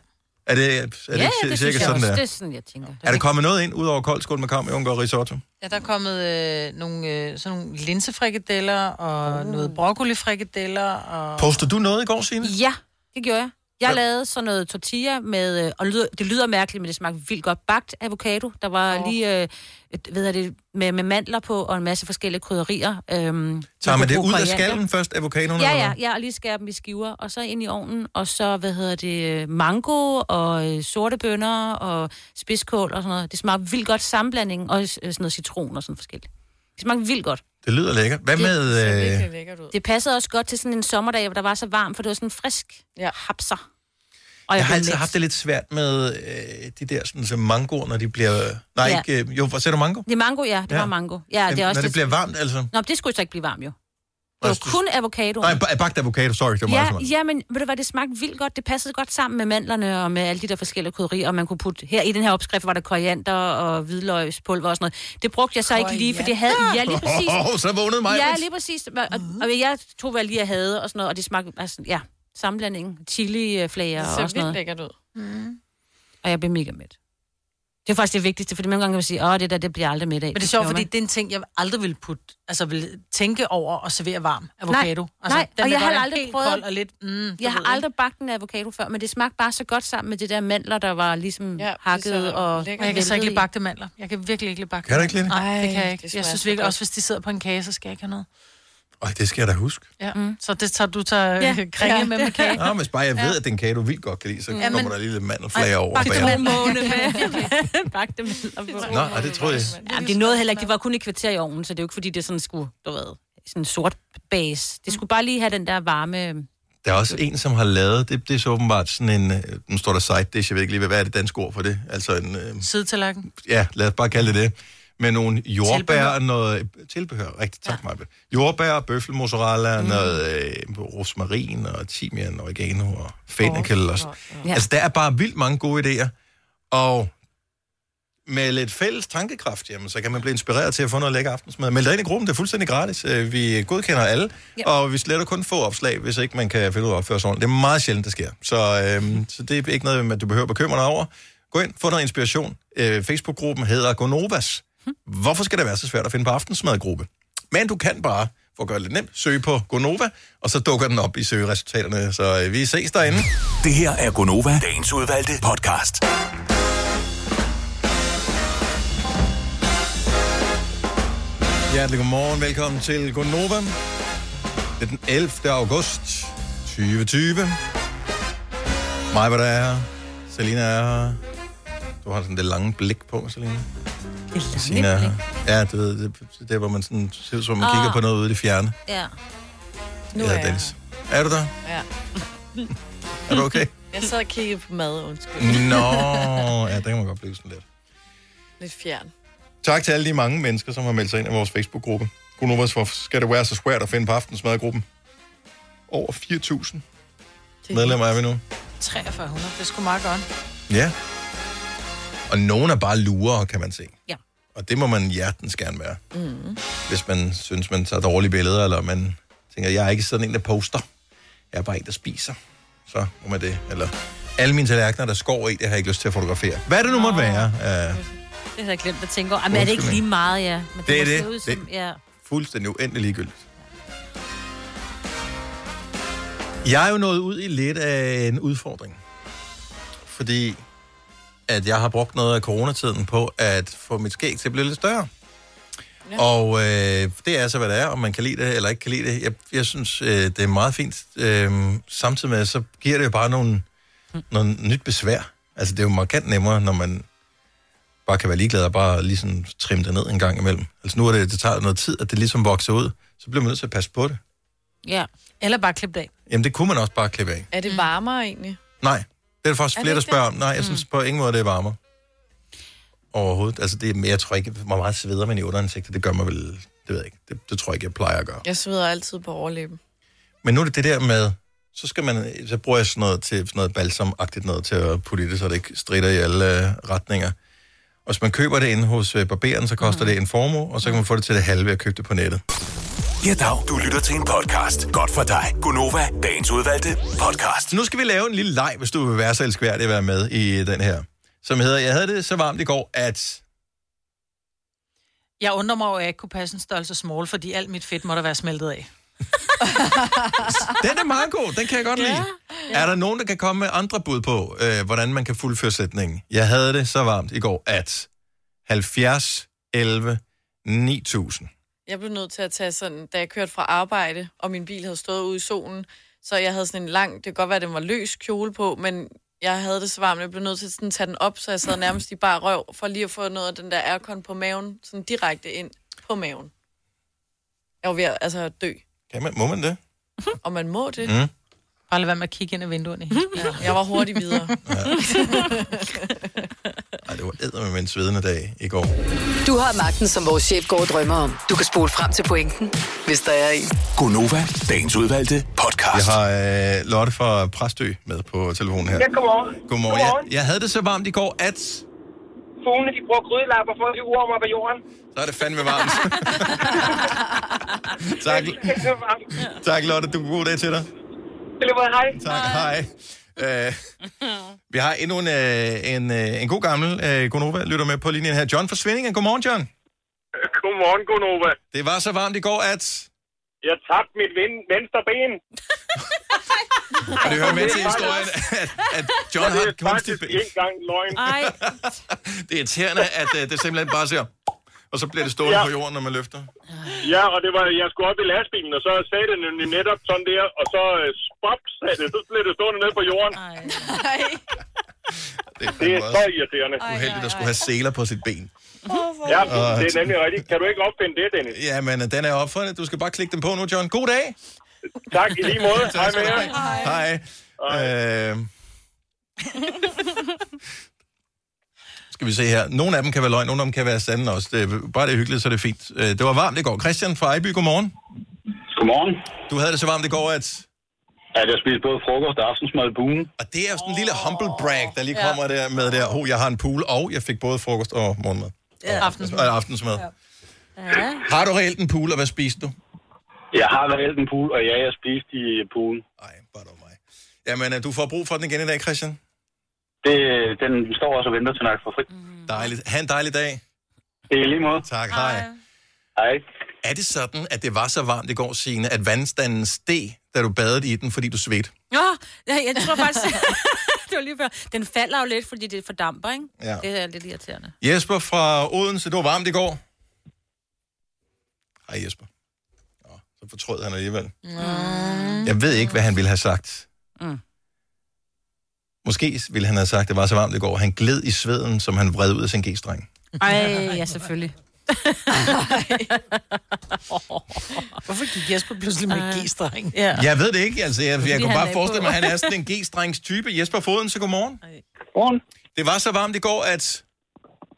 A: Er det, er det,
D: ja, ja,
A: cirka
D: det synes jeg
A: sådan,
D: også.
A: der?
D: Det er sådan, jeg tænker.
A: Er der kommet noget ind ud over koldskål med kam, og risotto?
C: Ja, der er kommet øh, nogle, øh, sådan nogle linsefrikadeller og uh. noget broccolifrikadeller. Og...
A: Postede du noget i går, Signe?
D: Ja, det gjorde jeg. Jeg lavede sådan noget tortilla med, øh, og lyder- det lyder mærkeligt, men det smagte vildt godt, bagt avocado. Der var oh. lige, øh, et- ved jeg det, med, med mandler på, og en masse forskellige krydderier. Øhm,
A: Tager man det
D: kunne
A: ud
D: bruge
A: af
D: koriander.
A: skallen først, avocadoen?
D: Ja,
A: eller
D: ja,
A: hvad?
D: ja, og lige skære dem i skiver, og så ind i ovnen, og så, hvad hedder det, mango og øh, sorte bønner og spidskål og sådan noget. Det smager vildt godt sammenblanding, og øh, sådan noget citron og sådan forskelligt. Det smager vildt godt.
A: Det lyder lækkert. Hvad med... Øh,
B: lækkert ud.
D: Det passede også godt til sådan en sommerdag, hvor der var så varmt, for det var sådan frisk ja. hapser. Og
A: jeg har
D: blev
A: altid
D: mæt.
A: haft det lidt svært med øh, de der sådan, som mangoer, når de bliver... Nej,
D: Ja.
A: ja. ikke... Øh, jo, hvor ser du mango?
D: Det er mango, ja. Det
A: Ja.
D: ja. var mango. Ja,
A: Men
D: det er også
A: når det bliver varmt, altså?
D: Nå, men det skulle så ikke blive varmt, jo. Det
A: Altså,
D: var kun avocado.
A: Nej, ba- bagt avocado, sorry, det var meget
D: Ja,
A: smart.
D: ja, men ved du hvad, det smagte vildt godt. Det passede godt sammen med mandlerne og med alle de der forskellige krydderier, og man kunne putte... Her i den her opskrift var der koriander og hvidløgspulver og sådan noget. Det brugte jeg så ikke lige, for det havde... Ja, lige præcis.
A: Åh, så vågnede mig. Mm.
D: Ja, lige præcis. Og, og, og jeg tog, hvad jeg lige havde og sådan noget, og det smagte... Altså, ja, sammenblanding, chiliflager
B: Det ser
D: og sådan
B: vildt
D: noget.
B: lækkert ud. Mm.
D: Og jeg blev mega mæt. Det er faktisk det vigtigste, fordi mange gange kan man sige, åh, det der, det bliver jeg aldrig mæt af.
C: Men det er sjovt, fordi det er en ting, jeg aldrig ville putte, altså ville tænke over at servere varm avocado.
D: Nej,
C: altså,
D: nej,
C: den
D: og
C: vil
D: jeg
C: godt
D: har
C: være
D: aldrig
C: helt
D: prøvet-
C: kold og lidt... Mm, du
D: Jeg har
C: ved,
D: aldrig bagt en avocado før, men det smagte bare så godt sammen med det der mandler, der var ligesom ja, hakket og...
C: Og jeg kan så ikke lide bagte mandler. Jeg kan virkelig ikke lide bagte
A: Kan du ikke lide det?
C: Nej, det kan
B: Ej,
C: jeg
B: det
C: ikke. Jeg
B: smager
C: synes
B: så
C: virkelig
B: godt.
C: også, hvis de sidder på en kage, så skal jeg ikke have noget.
A: Øj, det skal jeg da huske.
C: Ja. Mm. Så det tager, du tager
D: Ja.
C: ja. kringe
D: Ja. Mm.
C: ja. med med kage.
A: Nå, hvis bare jeg ved, at den kage, du vildt godt kan lide, så
C: Ja,
A: kommer
C: men-
A: der lige lidt mandelflager over.
D: bagte
A: bagover.
D: mandelmåne med. bagte mandler på.
A: Nå, ej, det troede jeg.
D: Ja, det nåede heller ikke. Det var kun et kvarter i ovnen, så det er jo ikke, fordi det sådan skulle, du ved, sådan en sort base. Det skulle bare lige have den der varme...
A: Der er også en, som har lavet, det, det er så åbenbart sådan en, øh, nu står der side dish, jeg ved ikke lige, hvad hvad er det danske ord for det? Altså en, øh,
C: Sidetallerken.
A: ja, lad os bare kalde det det. med nogle jordbær
M: Tilbehør.
A: og noget øh, tilbehør. Rigtigt, tak, ja. Maja. Jordbær, bøffelmozzarella, mm. noget øh, rosmarin og timian, oregano og fennikel. Oh,
N: ja.
A: ja. Altså, der er bare vildt mange gode idéer. Og med lidt fælles tankekraft, jamen, så kan man blive inspireret til at få noget lækker aftensmad. Meld dig ind i gruppen, det er fuldstændig gratis. Øh, Vi godkender alle,
O: Ja.
A: ja. og vi sletter kun få opslag, hvis ikke man kan finde ud af at opføre sig ordentligt. Det er meget sjældent, det sker. Så, øhm, så det er ikke noget, man- du behøver at bekymre dig over. Gå ind, få noget inspiration. Øh, Facebook-gruppen hedder Gonovas. Hvorfor skal det være så svært at finde på aftensmadgruppe? Men du kan bare, for at gøre det lidt nemt, søge på Gonova, og så dukker den op i søgeresultaterne. Så øh, vi ses derinde.
F: Det her er Gonova, dagens udvalgte podcast.
A: Hjertelig godmorgen. Velkommen til Gonova. Det er den 11. august 2020. Mig, hvad der er her. Selina er her. Du har sådan det lange blik på, Selina. Sina er her. Ja, du ved, det, det er, hvor man sådan ser ud, som om man
D: Ah.
A: kigger på noget ude i det fjerne.
D: Ja.
B: Nu er
A: Eller
B: jeg
A: dans. Er du der?
B: Ja.
A: Er du okay?
B: Jeg sad og kiggede på mad, undskyld.
A: Nå, ja, det kan man godt blive sådan lidt. Mm.
B: Lidt fjern.
A: Tak til alle de mange mennesker, som har meldt sig ind i vores Facebook-gruppe. Gunovas, hvorfor skal det være så svært at finde på aftensmadgruppen? Over 4.000 medlemmer er vi nu.
C: 4300, det skulle meget godt.
A: Ja. Og nogen er bare lurere, kan man se.
D: Ja.
A: Og det må man hjertens gerne være.
D: Mm.
A: Hvis man synes, man tager dårlige billeder, eller man tænker, jeg er ikke sådan en, der poster. Jeg er bare en, der spiser. Så må man det. Eller alle mine tallerkener, der skår i, det har jeg ikke lyst til at fotografere. Hvad det nu måtte være. Uh,
D: Det har jeg glemt at tænke over. Jamen, er det ikke
A: Undskyldning.
D: lige meget, ja? Men
A: Det er
D: må
A: det.
D: se Ud som,
A: Det-
D: Ja.
A: fuldstændig uendelig ligegyldigt. Jeg er jo nået ud i lidt af en udfordring. Fordi at jeg har brugt noget af coronatiden på at få mit skæg til at blive lidt større. Ja. Og øh, det er så, hvad det er, om man kan lide det eller ikke kan lide det. Jeg, jeg synes, øh, det er meget fint. Øh, samtidig med, så giver det jo bare nogle, mm. noget nyt besvær. Altså, det er jo markant nemmere, når man bare kan være ligeglad og bare lige sådan trimme det ned en gang imellem. Altså, nu er det, det tager noget tid, at det ligesom vokser ud. Så bliver man nødt til at passe på det.
D: ja.
C: Eller bare klippe det af.
A: Jamen, det kunne man også bare klippe af.
B: Er
D: Mm.
B: det varmere egentlig?
A: Nej, det er der faktisk
B: Er det Mm.
A: flere, der
B: ikke
A: spørger om.
B: det?
A: Nej, jeg synes på ingen måde, det er varmere. Overhovedet. Altså, det er, jeg tror ikke, hvor meget sveder man i underansigtet, det gør man vel, det ved jeg ikke. Det, det tror jeg ikke, jeg plejer at gøre.
B: Jeg sveder altid på overlæben.
A: Men nu er det det der med, så, skal man, så bruger jeg sådan noget, til, sådan noget balsamagtigt noget til at putte i det, så det ikke strider i alle øh, retninger. Og hvis man køber det inde hos øh, barberen, så koster mm. det en formue, og så kan man få det til det halve at købe det på nettet.
F: Ja, dag. Du lytter til en podcast. Godt for dig. Gonova, dagens udvalgte podcast.
A: Nu skal vi lave en lille leg, hvis du vil være så elskværdig at være med i den her. Som hedder, jeg havde det så varmt i går, at...
C: Jeg undrer mig over, at jeg ikke kunne passe en størrelse small, fordi alt mit fedt måtte være smeltet af.
A: Den er meget god, den kan jeg godt lide. Ja, ja. Er der nogen, der kan komme med andre bud på, øh, hvordan man kan fuldføre sætningen? Jeg havde det så varmt i går, at 70, 11, 9000.
B: Jeg blev nødt til at tage sådan, da jeg kørte fra arbejde, og min bil havde stået ude i solen, så jeg havde sådan en lang, det kan godt være, at den var løs kjole på, men jeg havde det så varmt, jeg blev nødt til sådan at tage den op, så jeg sad nærmest i bare røv, for lige at få noget af den der aircon på maven, sådan direkte ind på maven. Jeg var ved at, altså, at dø,
A: Kan man, må man det?
B: og man må det.
A: Mm.
C: Bare lad være med at kigge ind ad vinduerne. i hele tiden.
B: Jeg var hurtig videre.
A: Ej, det var æder med en svedende dag i går.
E: Du har magten, som vores chef går og drømmer om. Du kan spole frem til pointen, hvis der er en.
F: Gonova, dagens udvalgte podcast.
A: Jeg har øh, Lotte fra Præstø med på telefonen her.
M: Ja, godmorgen.
A: Godmorgen.
M: Godmorgen.
A: Jeg, jeg havde det så varmt i går, at...
M: Fuglene, de bruger grydelapper for at hive orm op af jorden.
A: Så er det fandme varmt. tak,
M: Det er varmt.
A: tak Lotte. Du god dag til
M: I
A: dig.
M: lige måde, hej.
A: Tak, hej. Øh, vi har endnu en, øh, en, øh, en god gammel øh, Gonova lytter med på linjen her. John fra Svindingen. Godmorgen, John.
M: Godmorgen, Gunova.
A: Det var så varmt i går, at...
M: Jeg tabte mit ven- venstre ben.
A: Og det hører med til historien, at, at John har et kunstigt...
M: Det er ikke engang løgn.
D: Ej.
A: Det er irriterende, at øh, det simpelthen bare ser... Og så bliver det stående
M: Ja.
A: ja. på jorden, når man løfter.
M: Ja, og det var, jeg skulle op i lastbilen, og så sagde det nemlig netop sådan der, og så øh, spop sagde det, så blev det stående ned på jorden.
A: Det
M: Det er
A: er, fandme
M: så
A: også
M: irriterende.
A: uheldigt at skulle have seler på sit ben.
M: Ja,
A: Åh,
M: det er nemlig rigtigt. Kan du ikke opfinde det, Dennis?
A: Ja, men øh, den er opfundet. Du skal bare klikke den på nu, John. God dag.
M: Tak, i lige måde. Hej med jer.
A: Øhm. Hej. Hej. Øh, skal vi se her. Nogle af dem kan være løgn, nogle af dem kan være sande også. Det, er- bare det er hyggeligt, så er det fint. Øh, Det var varmt i går. Christian fra Ejby, godmorgen.
N: Godmorgen.
A: Du havde det så varmt i går, at...
N: At jeg spiste både frokost og aftensmad i buen.
A: Og det er jo sådan en lille humble brag, der lige kommer der med der, oh, jeg har en pool, og jeg fik både frokost og morgenmad.
C: Ja.
A: Og aftensmad.
D: Ja.
A: Har du reelt en pool, og hvad spiste du?
N: Jeg har reelt en pool, og ja, jeg spiste i poolen.
A: Jamen, øh, du får brug for den igen i dag, Christian.
N: Det, den står også og venter til, når jeg får fri.
A: Dejligt. Ha' en dejlig dag.
N: Det er lige måde.
A: Tak, Mm. hej.
N: Hej.
A: Er det sådan, at det var så varmt i går, Signe, at vandstanden steg, da du badede i den, fordi du svedte?
D: Nå, jeg, jeg tror faktisk... det var lige før. Den falder jo lidt, fordi det fordamper, ikke?
A: Ja.
D: Det er lidt irriterende.
A: Jesper fra Odense, det var varmt i går. Hej Jesper. Nå, så fortrød han alligevel. Mm. Jeg ved ikke, hvad han ville have sagt.
D: Mm.
A: Måske ville han have sagt, at det var så varmt i går. Han gled i sveden, som han vred ud af sin g-streng.
D: Ej, ja, selvfølgelig.
C: Hvorfor gik Jesper pludselig med g-streng?
A: Ja. Jeg ved det ikke, altså. Jeg, jeg
C: Fordi
A: kunne
C: han
A: bare
C: lagde
A: forestille mig,
C: på.
A: at han er sådan en g-strengs type. Jesper fra Odense, godmorgen.
O: Godmorgen.
A: Det var så varmt i går, at...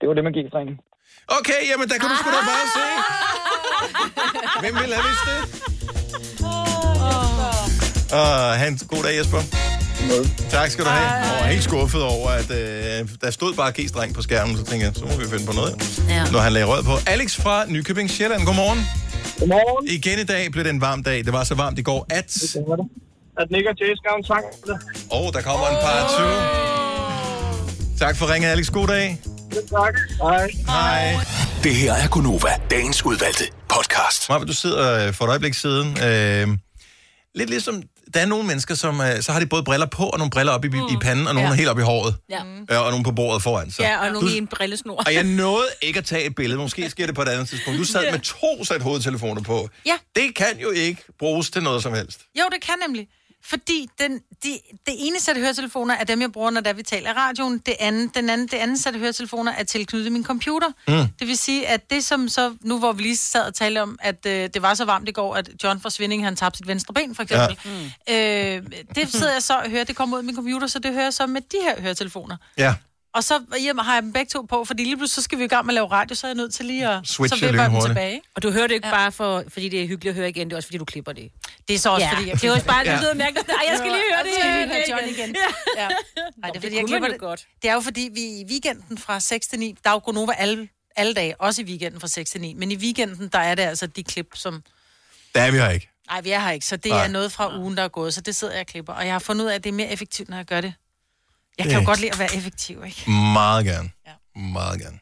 O: Det var det med g-strengen.
A: Okay, jamen der kan du sgu da bare se. Hvem ville have vidst det? Og han, god dag, Jesper. Tak skal du have. Jeg var helt skuffet over, at øh, der stod bare G-streng på skærmen, så tænkte jeg, så må vi finde på noget. Ja. Når han lagde rød på. Alex fra Nykøbing Sjælland, godmorgen.
O: Godmorgen.
A: Igen i dag blev det en varm dag. Det var så varmt i går, at...
O: At Nick og Jay skrev en sang.
A: Åh, oh, der kommer en par 20. Tak for ringet, Alex. God dag.
O: Tak. Hej.
A: Hej.
F: Det her er Gunova, dagens udvalgte podcast.
A: Marve, du sidder øh, for et øjeblik siden. Øh, lidt ligesom, der er nogle mennesker, som øh, så har de både briller på, og nogle briller op i, mm. i panden, og nogle
D: Ja.
A: ja. helt op i håret.
D: Ja.
A: Øh, og nogle på bordet foran sig.
D: Ja, og
A: Du-
D: nogen i en brillesnor.
A: Og jeg nåede ikke at tage et billede. Måske sker det på et andet tidspunkt. Du sad med to sæt hovedtelefoner på.
C: Ja.
A: Det kan jo ikke bruges til noget som helst.
C: Jo, det kan nemlig. Fordi den, de, det ene sæt høretelefoner er dem, jeg bruger, når der vi taler i radioen. Det andet, den anden, det andet sæt høretelefoner er tilknyttet min computer.
P: Mm.
C: Det vil sige, at det som så, nu hvor vi lige sad og talte om, at øh, det var så varmt i går, at John fra Svinding, han tabte sit venstre ben, for eksempel.
A: Mm.
C: Ja. Øh, det sidder jeg så og hører, det kommer ud af min computer, så det hører jeg så med de her høretelefoner.
A: Ja.
C: Og så hjemme har jeg dem begge to på, fordi lige pludselig så skal vi i gang med at lave radio, så er jeg nødt til lige at...
A: Switche
C: så vipper jeg dem
A: lynhurtigt.
C: tilbage. ikke?
D: Og du hører det ikke ja. bare, for, fordi det er hyggeligt at høre igen, det er også fordi, du klipper det.
C: Det er så også, fordi jeg
D: Det er også
C: klipper
D: bare,
C: det.
D: det lyder mærkeligt. Ej, jeg skal lige høre det.
C: Jeg skal lige
D: igen.
C: høre John igen. Ja. Ja. Nej, det er fordi, jeg
D: kunne
C: klipper
D: man jo
C: det. Godt. Det er jo fordi, vi i weekenden fra 6 til 9, der er jo Gonova alle, alle dage, også i weekenden fra 6 til 9, men i weekenden, der er det altså de klip, som...
A: Der er vi her ikke.
C: Nej, vi er her ikke, så det
A: Nej.
C: Nej. er noget fra ugen, der er gået, så det sidder jeg og klipper. Og jeg har fundet ud af, at det er mere effektivt, når jeg gør det. Jeg kan
A: Det-
C: jo godt lide at være effektiv, ikke?
A: Meget gerne. Ja. Meget gerne.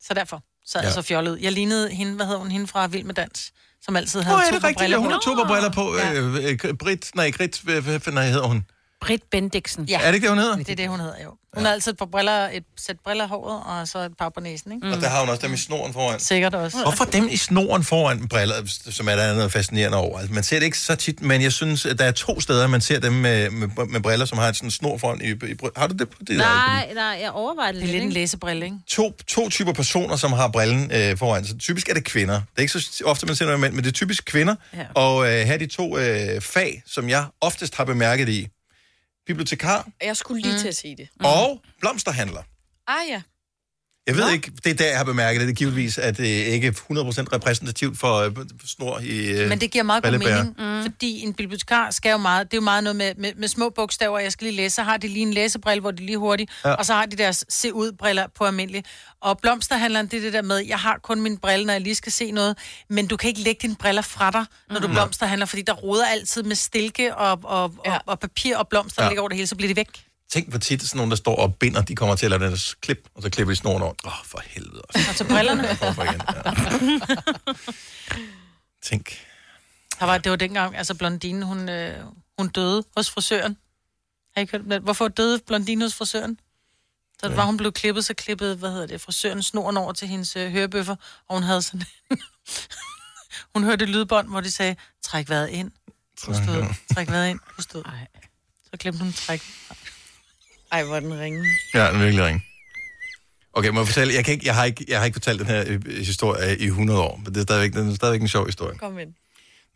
C: Så derfor så er
A: Ja.
C: jeg så fjollet. ud. Jeg lignede hende, hvad hedder hun, hende fra Vild med Dans, som altid havde
A: Åh,
C: oh,
A: er
C: to
A: det rigtigt? Ja,
C: briller.
A: hun har tuberbriller på. Øh, øh, Britt, nej, Grit, hvad- hvad fanden hedder hun?
D: Britt Bendiksen.
A: Er det ikke det, hun hedder?
C: Det er det, hun hedder, jo. Hun har altid et par briller, et sæt briller i håret, og så et par på næsen, ikke?
A: Og der har hun også dem i snoren foran.
C: Sikkert også.
A: Hvorfor dem i snoren foran briller, som er der er noget fascinerende over? Altså, man ser det ikke så tit, men jeg synes, at der er to steder, man ser dem med, med, med briller, som har sådan en snor foran i, i bry- Har du det på det?
D: Nej, nej, jeg overvejer det lidt. Det er lidt en
C: læsebrille, ikke?
A: To, to typer personer, som har brillen øh, foran sig. Typisk er det kvinder. Det er ikke så ofte, man ser noget mænd, men det er typisk kvinder. Ja. Og øh, her er de to øh, fag, som jeg oftest har bemærket i. Bibliotekar
B: Jeg skulle lige til at sige det.
A: mm. og blomsterhandler.
B: Ah ja.
A: Jeg ved ikke, det er der, jeg har bemærket det. Det er givetvis, at det ikke er 100% repræsentativt for øh, snor i øh,
C: Men det giver meget god
A: brillebærer.
C: mening, mm. fordi en bibliotekar skal jo meget, det er jo meget noget med, med, med små bogstaver, jeg skal lige læse, så har de lige en læsebrille, hvor de lige hurtigt,
A: Ja.
C: ja. og så har de deres se ud briller på almindelig. Og blomsterhandleren, det er det der med, jeg har kun min brille, når jeg lige skal se noget, men du kan ikke lægge dine briller fra dig, når du
A: Mhm.
C: blomsterhandler, fordi der roder altid med stilke og, og, ja. og, og papir og blomster,
A: Ja.
C: ja. ligger over det hele, så bliver de væk.
A: Tænk, hvor tit sådan nogen, der står og binder, de kommer til at lade deres klip, og så klipper de snoren over. Åh, oh, for helvede.
C: Og til brillerne.
A: Hvorfor igen? Ja. Tænk.
C: Der var, det var dengang, altså blondine, hun, øh, hun døde hos frisøren. Har I ikke hørt om det? Hvorfor døde blondine hos frisøren? Så det var, hun blev klippet, så klippede, hvad hedder det, frisøren snoren over til hendes øh, hørebøffer, og hun havde sådan en... hun hørte et lydbånd, hvor de sagde, træk vejret ind. Forstået. Træk vejret ind. Forstået. Så glemte hun træk.
B: Ej, hvor er den ringe.
A: Ja, den er virkelig ringe. Okay, må jeg fortælle? Jeg, kan ikke, jeg, har ikke, jeg har ikke fortalt den her øh, historie i 100 år, men det er stadigvæk, den er stadigvæk en sjov historie.
B: Kom ind.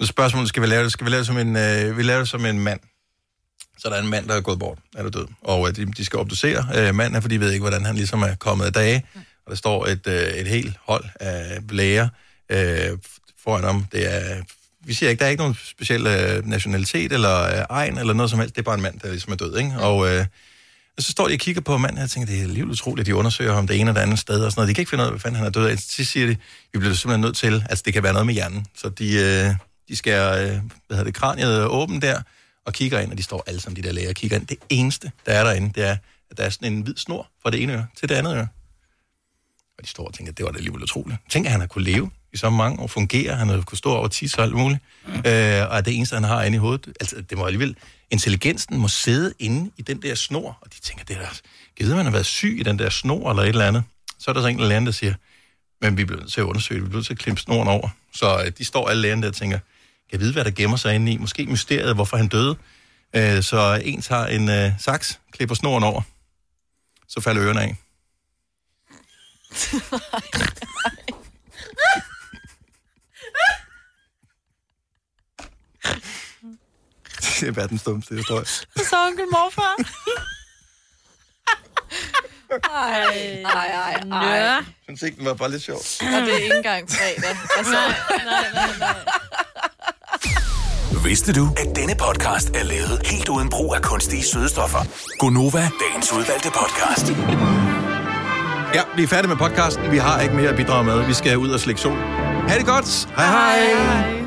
A: Nu er spørgsmålet, skal vi lave det, skal vi lave det som en, øh, vi laver det som en mand? Så der er en mand, der er gået bort, eller død, og øh, de, de skal obducere øh, manden, for de ved ikke, hvordan han ligesom er kommet af dage. Og der står et, øh, et helt hold af læger øh, foran ham. Det er, vi siger ikke, der er ikke nogen speciel øh, nationalitet eller øh, egen eller noget som helst. Det er bare en mand, der ligesom er død, ikke? Og øh, og så står de og kigger på manden, og jeg tænker, det er alligevel utroligt, at de undersøger ham det ene og det andet sted og sådan noget. De kan ikke finde ud af, hvad fanden han er død af. Til sidst siger de, vi bliver simpelthen nødt til, altså det kan være noget med hjernen. Så de, øh, de skærer, øh, hvad hedder det, kraniet åben der, og kigger ind, og de står alle sammen, de der læger, og kigger ind. Det eneste, der er derinde, det er, at der er sådan en hvid snor fra det ene øre til det andet øre. Og de står og tænker, det var da alligevel utroligt. Tænk, at han har kunne leve i så mange år, fungere, han har kunne stå over tisse og alt muligt, øh, og at det eneste, han har inde i hovedet, altså det må alligevel, intelligensen må sidde inde i den der snor, og de tænker, det er da, givet man har været syg i den der snor eller et eller andet, så er der så en eller anden, der siger, men vi bliver nødt til at undersøge det, vi bliver nødt til at klippe snoren over. Så øh, de står alle lærerne der og tænker, kan jeg vide, hvad der gemmer sig inde i? Måske mysteriet, hvorfor han døde. Øh, så en tager en øh, saks, klipper snoren over, så falder ørerne af. Det er verdens dummeste historie.
C: Så onkel morfar.
B: Ej,
E: Mm.
B: ej, ej,
A: Jeg synes ikke, den var bare lidt sjov.
B: Og det er ikke engang fredag. Altså,
F: Vidste du, at denne podcast er lavet helt uden brug af kunstige sødestoffer? Gonova, dagens udvalgte podcast.
A: Ja, vi er færdige med podcasten. Vi har ikke mere at bidrage med. Vi skal ud og slække sol. Ha' det godt. Hej hej. hej.